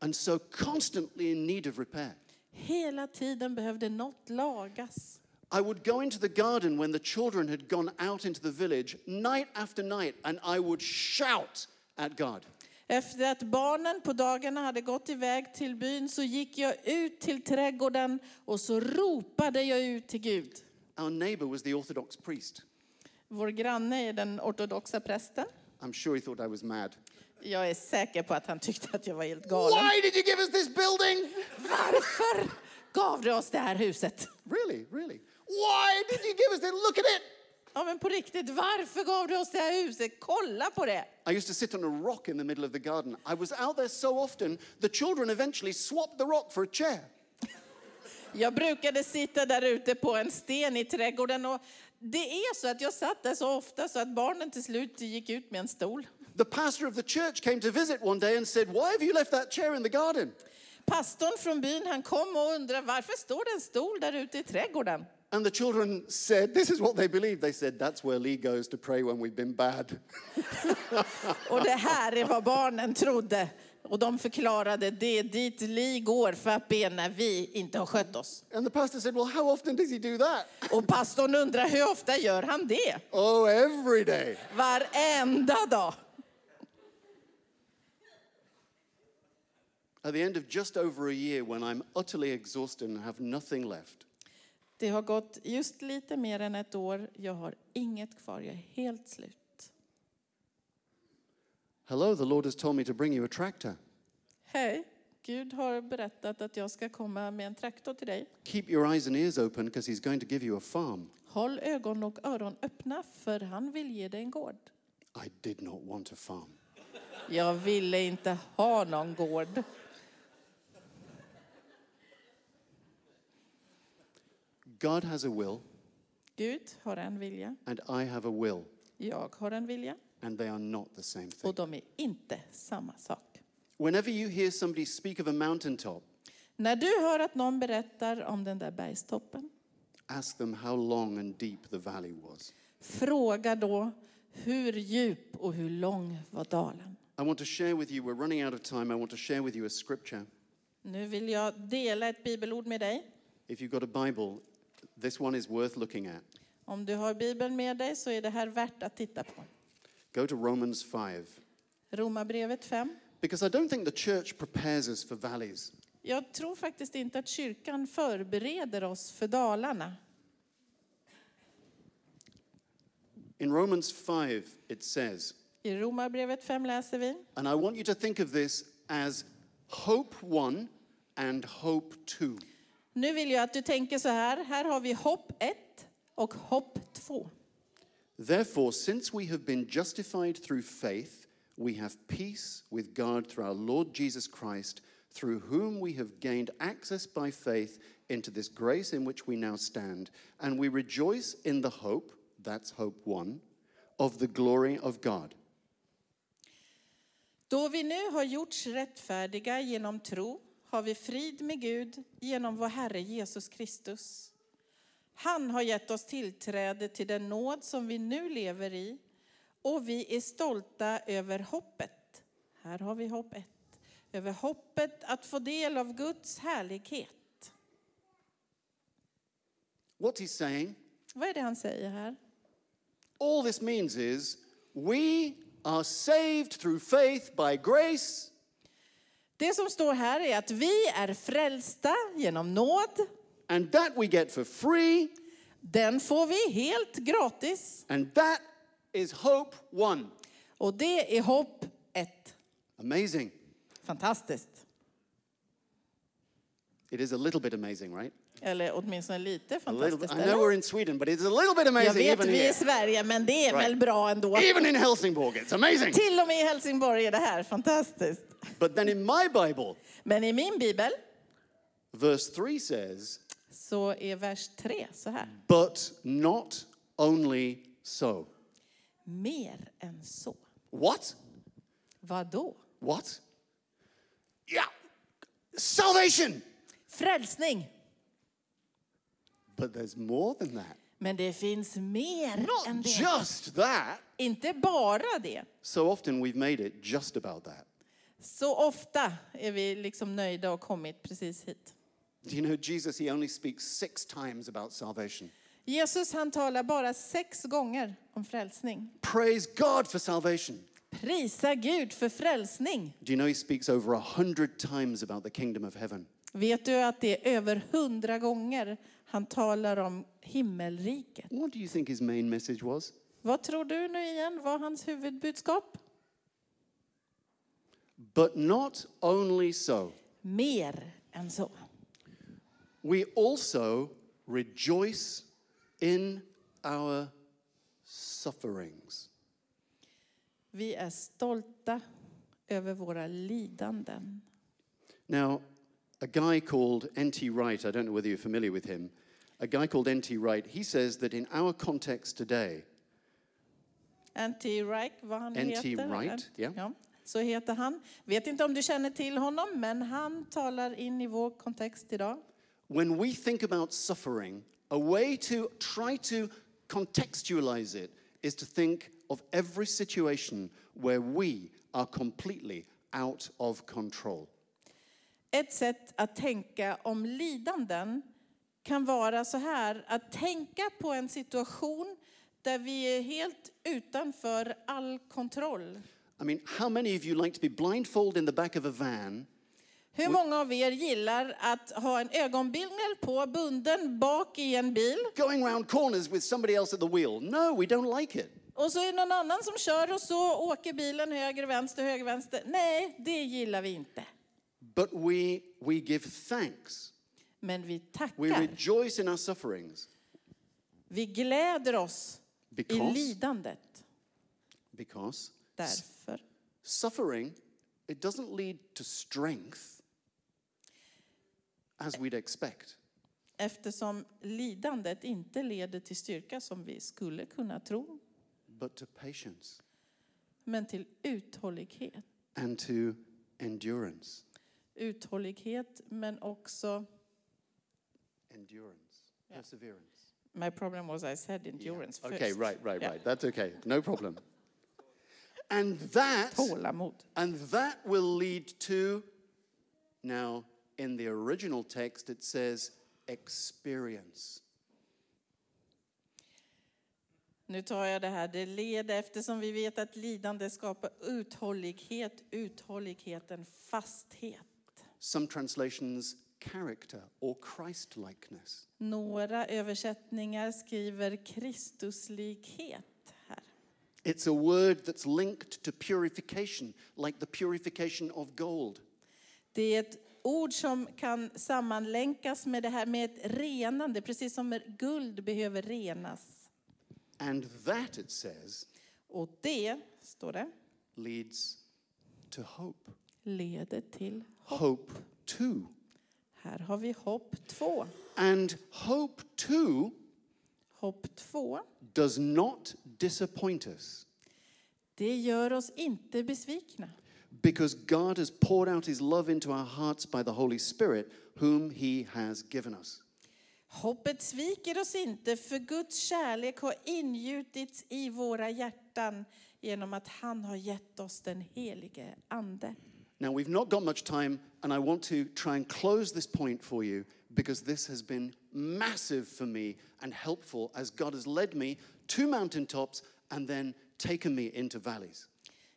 S2: and so constantly in need of repair.
S1: hela tiden behövde något lagas.
S2: I would go into the garden when the children had gone out into the village night after night, and I would shout at God.
S1: Efter att barnen på dagarna hade gått iväg till byn så gick jag ut till trädgården och så ropade jag ut till Gud.
S2: Our neighbor was the Orthodox priest.
S1: Vår granne är den ortodoxa prästen.
S2: I'm sure he thought I was mad.
S1: Jag är säker på att han tyckte att jag var helt galen.
S2: Why did you give us this building?
S1: Varför gav du oss det här huset?
S2: Really, really. Why did you give us this? Look at it.
S1: Ja men på riktigt, varför gav du oss det här huset? Kolla på det!
S2: I used to sit on a rock in the middle of the garden. I was out there so often, the children eventually swapped the rock for a chair.
S1: Jag brukade sitta där ute på en sten i trädgården och det är så att jag satt där så ofta så att barnen till slut gick ut med en stol.
S2: The pastor of the church came to visit one day and said, Why have you left that chair in the garden?
S1: Pastorn från byn han kom och undrade varför står det en stol där ute i trädgården?
S2: And the children said, This is what they believe. They said, That's where Lee goes to pray when we've been bad.
S1: Och det här är vad barnen trodde. Och de förklarade det är dit Li går för att be när vi inte har skött oss.
S2: And the pastor said, Well, how often does he do that?
S1: Och pastorn undrar hur ofta gör han det?
S2: Oh, every day.
S1: Varenda dag.
S2: At the end of just over a year, when I'm utterly exhausted and have nothing left,
S1: Det har gått just lite mer än ett år. Jag har inget kvar. Jag är helt slut.
S2: hello, the Lord has told me to bring you a tractor.
S1: Hej. Gud har berättat att jag ska komma med en traktor till dig.
S2: Keep your eyes and ears open because he's going to give you a farm.
S1: Håll ögon och öron öppna för han vill ge dig en gård.
S2: I did not want a farm.
S1: Jag ville inte ha någon gård.
S2: God has a will,
S1: Gud har en vilja,
S2: and I have a will,
S1: jag har en vilja
S2: and they are not the same
S1: och
S2: thing.
S1: de är inte samma sak.
S2: Whenever you hear somebody speak of a mountaintop,
S1: När du hör att någon berättar om den där bergstoppen
S2: Ask them how long and deep the valley was.
S1: Fråga då, hur djup och hur lång var dalen?
S2: I want to share with you, we're running out of time. I want to share with you a scripture.
S1: Nu vill jag dela ett bibelord med dig.
S2: If you've got a Bible, this one is worth looking at.
S1: Om du har bibeln med dig så är det här värt att titta på.
S2: Go to Romans 5.
S1: Romarbrevet 5.
S2: Because I don't think the church prepares us for valleys.
S1: Jag tror faktiskt inte att kyrkan förbereder oss för Dalarna.
S2: In Romans 5, it says,
S1: I Romarbrevet 5 läser vi.
S2: and I want you to think of this as hope one and hope two.
S1: Nu vill jag att du tänker så här. Här har vi hopp 1 och hopp 2.
S2: Therefore, since we have been justified through faith, we have peace with God through our Lord Jesus Christ, through whom we have gained access by faith into this grace in which we now stand, and we rejoice in the hope, that's hope one, of the glory of God.
S1: Då vi nu har gjorts rättfärdiga genom tro har vi frid med Gud genom vår Herre Jesus Kristus. Han har gett oss tillträde till den nåd som vi nu lever i och vi är stolta över hoppet. Här har vi hopp ett. Över hoppet att få del av Guds härlighet.
S2: What he's saying,
S1: Vad är det han säger här?
S2: all this means is we are saved through faith by grace,
S1: Det som står här är att vi är frälsta genom nåd.
S2: and that we get for free,
S1: Den får vi helt gratis.
S2: and that is hope one.
S1: Och det är hopp ett.
S2: Amazing.
S1: Fantastiskt.
S2: It is a little bit amazing, right?
S1: Eller åtminstone lite
S2: A little bit.
S1: fantastiskt.
S2: I know we're
S1: Eller?
S2: in Sweden, but it's a little bit
S1: Jag
S2: amazing
S1: vet,
S2: even
S1: vi är i
S2: here.
S1: Sverige, men det är väl
S2: Right.
S1: bra ändå.
S2: Even in Helsingborg, it's amazing.
S1: Till och med i Helsingborg är det här fantastiskt.
S2: But then in my Bible,
S1: Men i min bibel
S2: verse 3 says,
S1: så är vers 3 så här.
S2: but not only so.
S1: Mer än så.
S2: What?
S1: Vad då?
S2: What? Yeah. Salvation.
S1: Frälsning.
S2: But there's more than that.
S1: Men det finns mer än
S2: Not
S1: det.
S2: just that.
S1: Inte bara det.
S2: So often we've made it just about that.
S1: Så ofta är vi liksom nöjda och kommit precis hit.
S2: Do you know Jesus, he only speaks six times about salvation.
S1: Jesus han talar bara sex gånger om frälsning.
S2: Praise God for salvation.
S1: Prisa Gud för frälsning.
S2: Do you know he speaks over a hundred times about the kingdom of heaven?
S1: Vet du att det är över hundra gånger han talar om himmelriket?
S2: What do you think his main message was?
S1: Vad tror du nu igen var hans huvudbudskap?
S2: But not only so,
S1: Mer än så.
S2: we also rejoice in our sufferings.
S1: Vi är stolta över våra lidanden.
S2: Now, a guy called N.T. Wright, I don't know whether you're familiar with him, a guy called N.T. Wright, he says that in our context today,
S1: N.T. Wright, vad han
S2: N.T.
S1: heter.
S2: Wright, ja.
S1: ja. Så heter han. Vet inte om du känner till honom, men han talar in i vår kontext idag.
S2: when we think about suffering, a way to try to contextualize it is to think of every situation where we are completely out of control.
S1: Ett sätt att tänka om lidanden kan vara så här, att tänka på en situation där vi är helt utanför all kontroll.
S2: I mean, how many of you like to be blindfolded in the back of a van
S1: Hur många av er gillar att ha en ögonbindel på, bunden bak i en bil?
S2: going round corners with somebody else at the wheel? No, we don't like it.
S1: Och så är det någon annan som kör och så åker bilen höger, vänster, höger, vänster. Nej, det gillar vi inte.
S2: But we, we give thanks.
S1: Men vi
S2: We
S1: tackar.
S2: rejoice in our sufferings
S1: Vi gläder oss i
S2: Because-
S1: lidandet.
S2: because s-
S1: Därför.
S2: suffering, it doesn't lead to strength as we'd expect.
S1: Eftersom lidandet inte leder till styrka som vi skulle kunna tro,
S2: but to patience
S1: men till uthållighet.
S2: and to endurance.
S1: Uthållighet, men också
S2: Endurance. Perseverance.
S1: My problem was I said endurance first.
S2: Okay, right, right,
S1: Yeah.
S2: right. That's okay. No problem. and that
S1: Tålamod.
S2: and that will lead to now in the original text it says experience.
S1: Nu tar jag det här, det leder eftersom vi vet att lidande skapar uthållighet, uthålligheten fasthet.
S2: Some translations character or Christ likeness.
S1: Några översättningar skriver Kristuslikhet här.
S2: It's a word that's linked to purification, like the purification of gold.
S1: Det är ett ord som kan sammanlänkas med det här med ett renande, precis som guld behöver renas.
S2: And that, it says,
S1: Och det, står det,
S2: leads to hope.
S1: leder till...
S2: Hope too.
S1: Här har vi hopp 2.
S2: And hope too
S1: Hopp 2,
S2: does not disappoint us
S1: det gör oss inte besvikna.
S2: because God has poured out his love into our hearts by the Holy Spirit, whom he has given us.
S1: Hoppet sviker oss inte, för Guds kärlek har ingjutits i våra hjärtan genom att han har gett oss den helige Ande.
S2: Now, we've not got much time, and I want to try and close this point for you because this has been massive for me and helpful as God has led me to mountaintops and then taken me into valleys.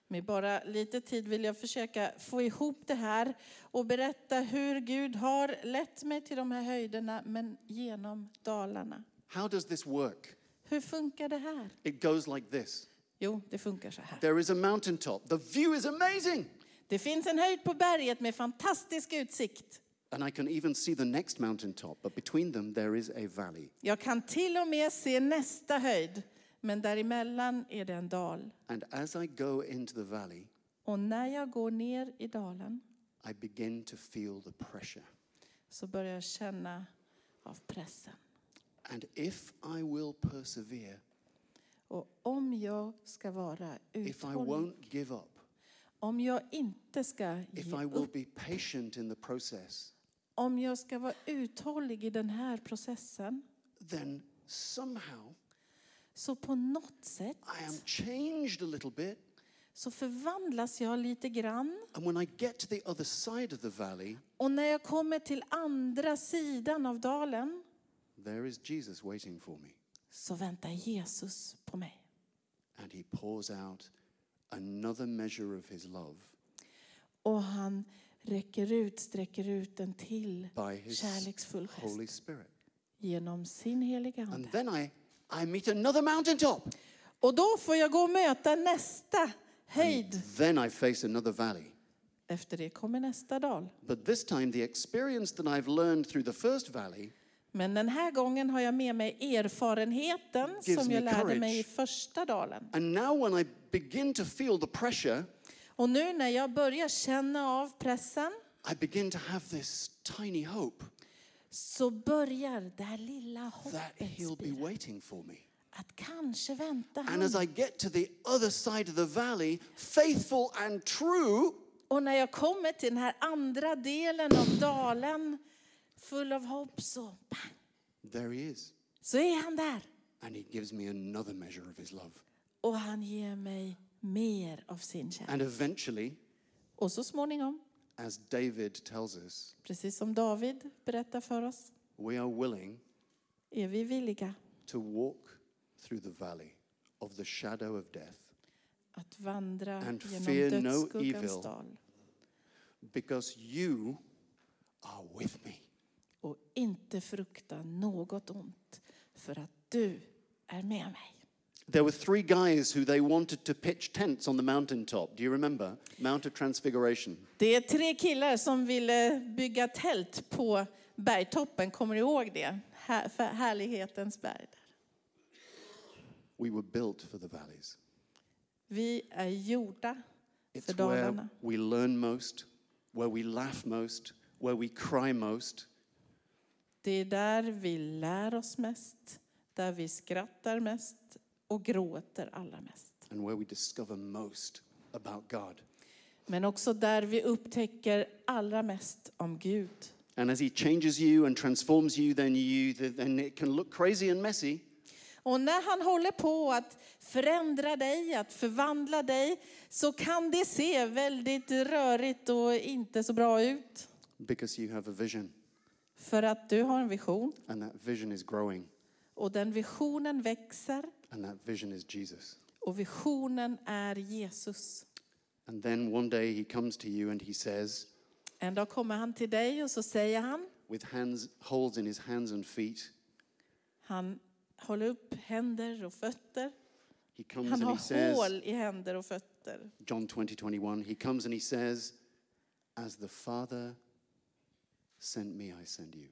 S1: Med bara lite tid vill jag försöka få ihop det här och berätta hur Gud har lett mig till de här höjderna, men genom dalarna.
S2: How does this work?
S1: Hur funkar det här?
S2: It goes like this
S1: Jo, det funkar så här.
S2: There is a mountaintop, the view is amazing,
S1: Det finns en höjd på berget med fantastisk utsikt.
S2: and I can even see the next mountaintop, but between them there is a valley.
S1: Jag kan till och med se nästa höjd, men däremellan är det en dal.
S2: And as I go into the valley,
S1: Och när jag går ner i dalen
S2: I begin to feel the pressure.
S1: så börjar jag känna av pressen.
S2: And if I will persevere,
S1: Och om jag ska vara
S2: if I
S1: uthållig,
S2: won't give up,
S1: om jag inte ska
S2: if
S1: ge
S2: I will
S1: upp,
S2: be patient in the process,
S1: om jag ska vara uthållig i den här processen,
S2: then somehow
S1: så på något sätt
S2: I am changed a little bit.
S1: så förvandlas jag lite grann.
S2: And when I get to the other side of the valley,
S1: Och när jag kommer till andra sidan av dalen
S2: there is Jesus waiting for me.
S1: så väntar Jesus på mig.
S2: And he pours out another measure of his love
S1: Och han räcker ut, sträcker ut en till
S2: by his
S1: kärleksfull gest
S2: Holy Spirit.
S1: genom sin heliga
S2: And
S1: Ande.
S2: then I, I meet another mountaintop.
S1: Och då får jag gå och möta nästa höjd.
S2: Then I face another valley.
S1: Efter det kommer nästa dal.
S2: But this time, the experience that I've learned through the first valley
S1: Men den här gången har jag med mig erfarenheten
S2: Gives
S1: som jag
S2: me
S1: lärde
S2: courage.
S1: mig i första dalen.
S2: And now, when I begin to feel the pressure,
S1: Och nu när jag börjar känna av pressen
S2: I begin to have this tiny hope
S1: så börjar det här lilla
S2: that
S1: hoppet
S2: he'll be
S1: spira.
S2: waiting for me.
S1: Att kanske vänta
S2: And as
S1: han.
S2: I get to the other side of the valley, faithful and true,
S1: Och när jag kommer till den här andra delen av dalen full av hopp så, bang,
S2: there he is.
S1: så är han där.
S2: And he gives me another measure of his love.
S1: Och han ger mig mer av sin kärlek.
S2: And eventually,
S1: Och så småningom,
S2: as David tells us,
S1: precis som David berättar för oss,
S2: we are willing
S1: är vi villiga
S2: to walk through the valley of the shadow of death
S1: att vandra
S2: And fear
S1: genom
S2: no
S1: dödsskuggans
S2: evil.
S1: dal
S2: because you are with me.
S1: och inte frukta något ont för att du är med mig.
S2: There were three guys who they wanted to pitch tents on the mountaintop. Do you remember? Mount of Transfiguration.
S1: Det är tre killar som ville bygga tält på bergtoppen, kommer du ihåg det? Här, för härlighetens berg. Där.
S2: We were built for the valleys.
S1: Vi är gjorda för
S2: It's where
S1: Dalarna.
S2: we learn most, where we laugh most, where we cry most,
S1: Det är där vi lär oss mest, där vi skrattar mest och gråter allra mest.
S2: and where we discover most about God.
S1: Men också där vi upptäcker allra mest om Gud.
S2: And as He changes you and transforms you, then you then it can look crazy and messy.
S1: Och när han håller på att förändra dig, att förvandla dig, så kan det se väldigt rörigt och inte så bra ut.
S2: because you have a vision
S1: För att du har en vision
S2: and that vision is growing
S1: och den visionen växer
S2: and that vision is Jesus.
S1: och visionen är Jesus.
S2: And then one day he comes to you and he says,
S1: En dag kommer han till dig och så säger han,
S2: with hands, holes in his hands and feet,
S1: han håller upp händer och fötter.
S2: he comes
S1: Han
S2: and
S1: har
S2: he says,
S1: hål i händer och fötter.
S2: John 20, 21, he comes and he says, As the Father sent me, I send you.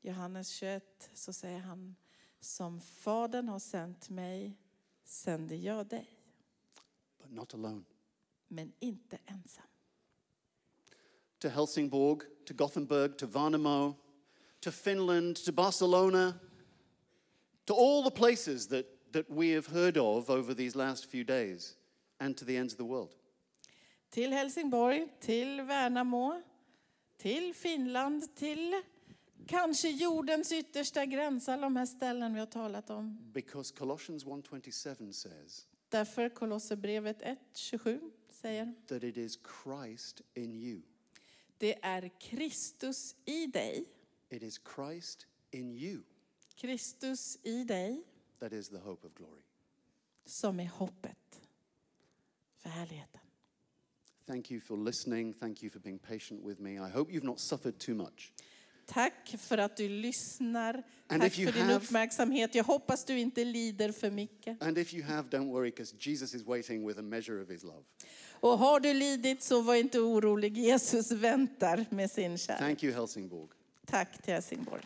S1: Johannes 21 så säger han, som Fadern har sänt mig sänder jag dig,
S2: But not alone.
S1: men inte ensam.
S2: To Helsingborg, to Gothenburg, to Varnamo, to Finland, to Barcelona, to all the places that, that we have heard of over these last few days, and to the ends of the world.
S1: Till Helsingborg, till Värnamo, till Finland, till kanske jordens yttersta gräns, alla de här ställen vi har talat om.
S2: Because Colossians 1:27 says
S1: Därför Kolosserbrevet 1, 27 säger,
S2: that it is Christ in you.
S1: det är Kristus i dig,
S2: It is Christ in you
S1: Kristus i dig
S2: that is the hope of glory.
S1: som är hoppet för härligheten.
S2: Thank you for listening. Thank you for being patient with me. I hope you've not suffered too much.
S1: Tack för att du lyssnar.
S2: And
S1: Tack
S2: if you
S1: för din
S2: have-
S1: uppmärksamhet. Jag hoppas du inte lider för mycket.
S2: And if you have, don't worry, because Jesus is waiting with a measure of his love.
S1: Och har du lidit så var inte orolig. Jesus väntar med sin kärlek.
S2: Thank you, Helsingborg.
S1: Tack till Helsingborg.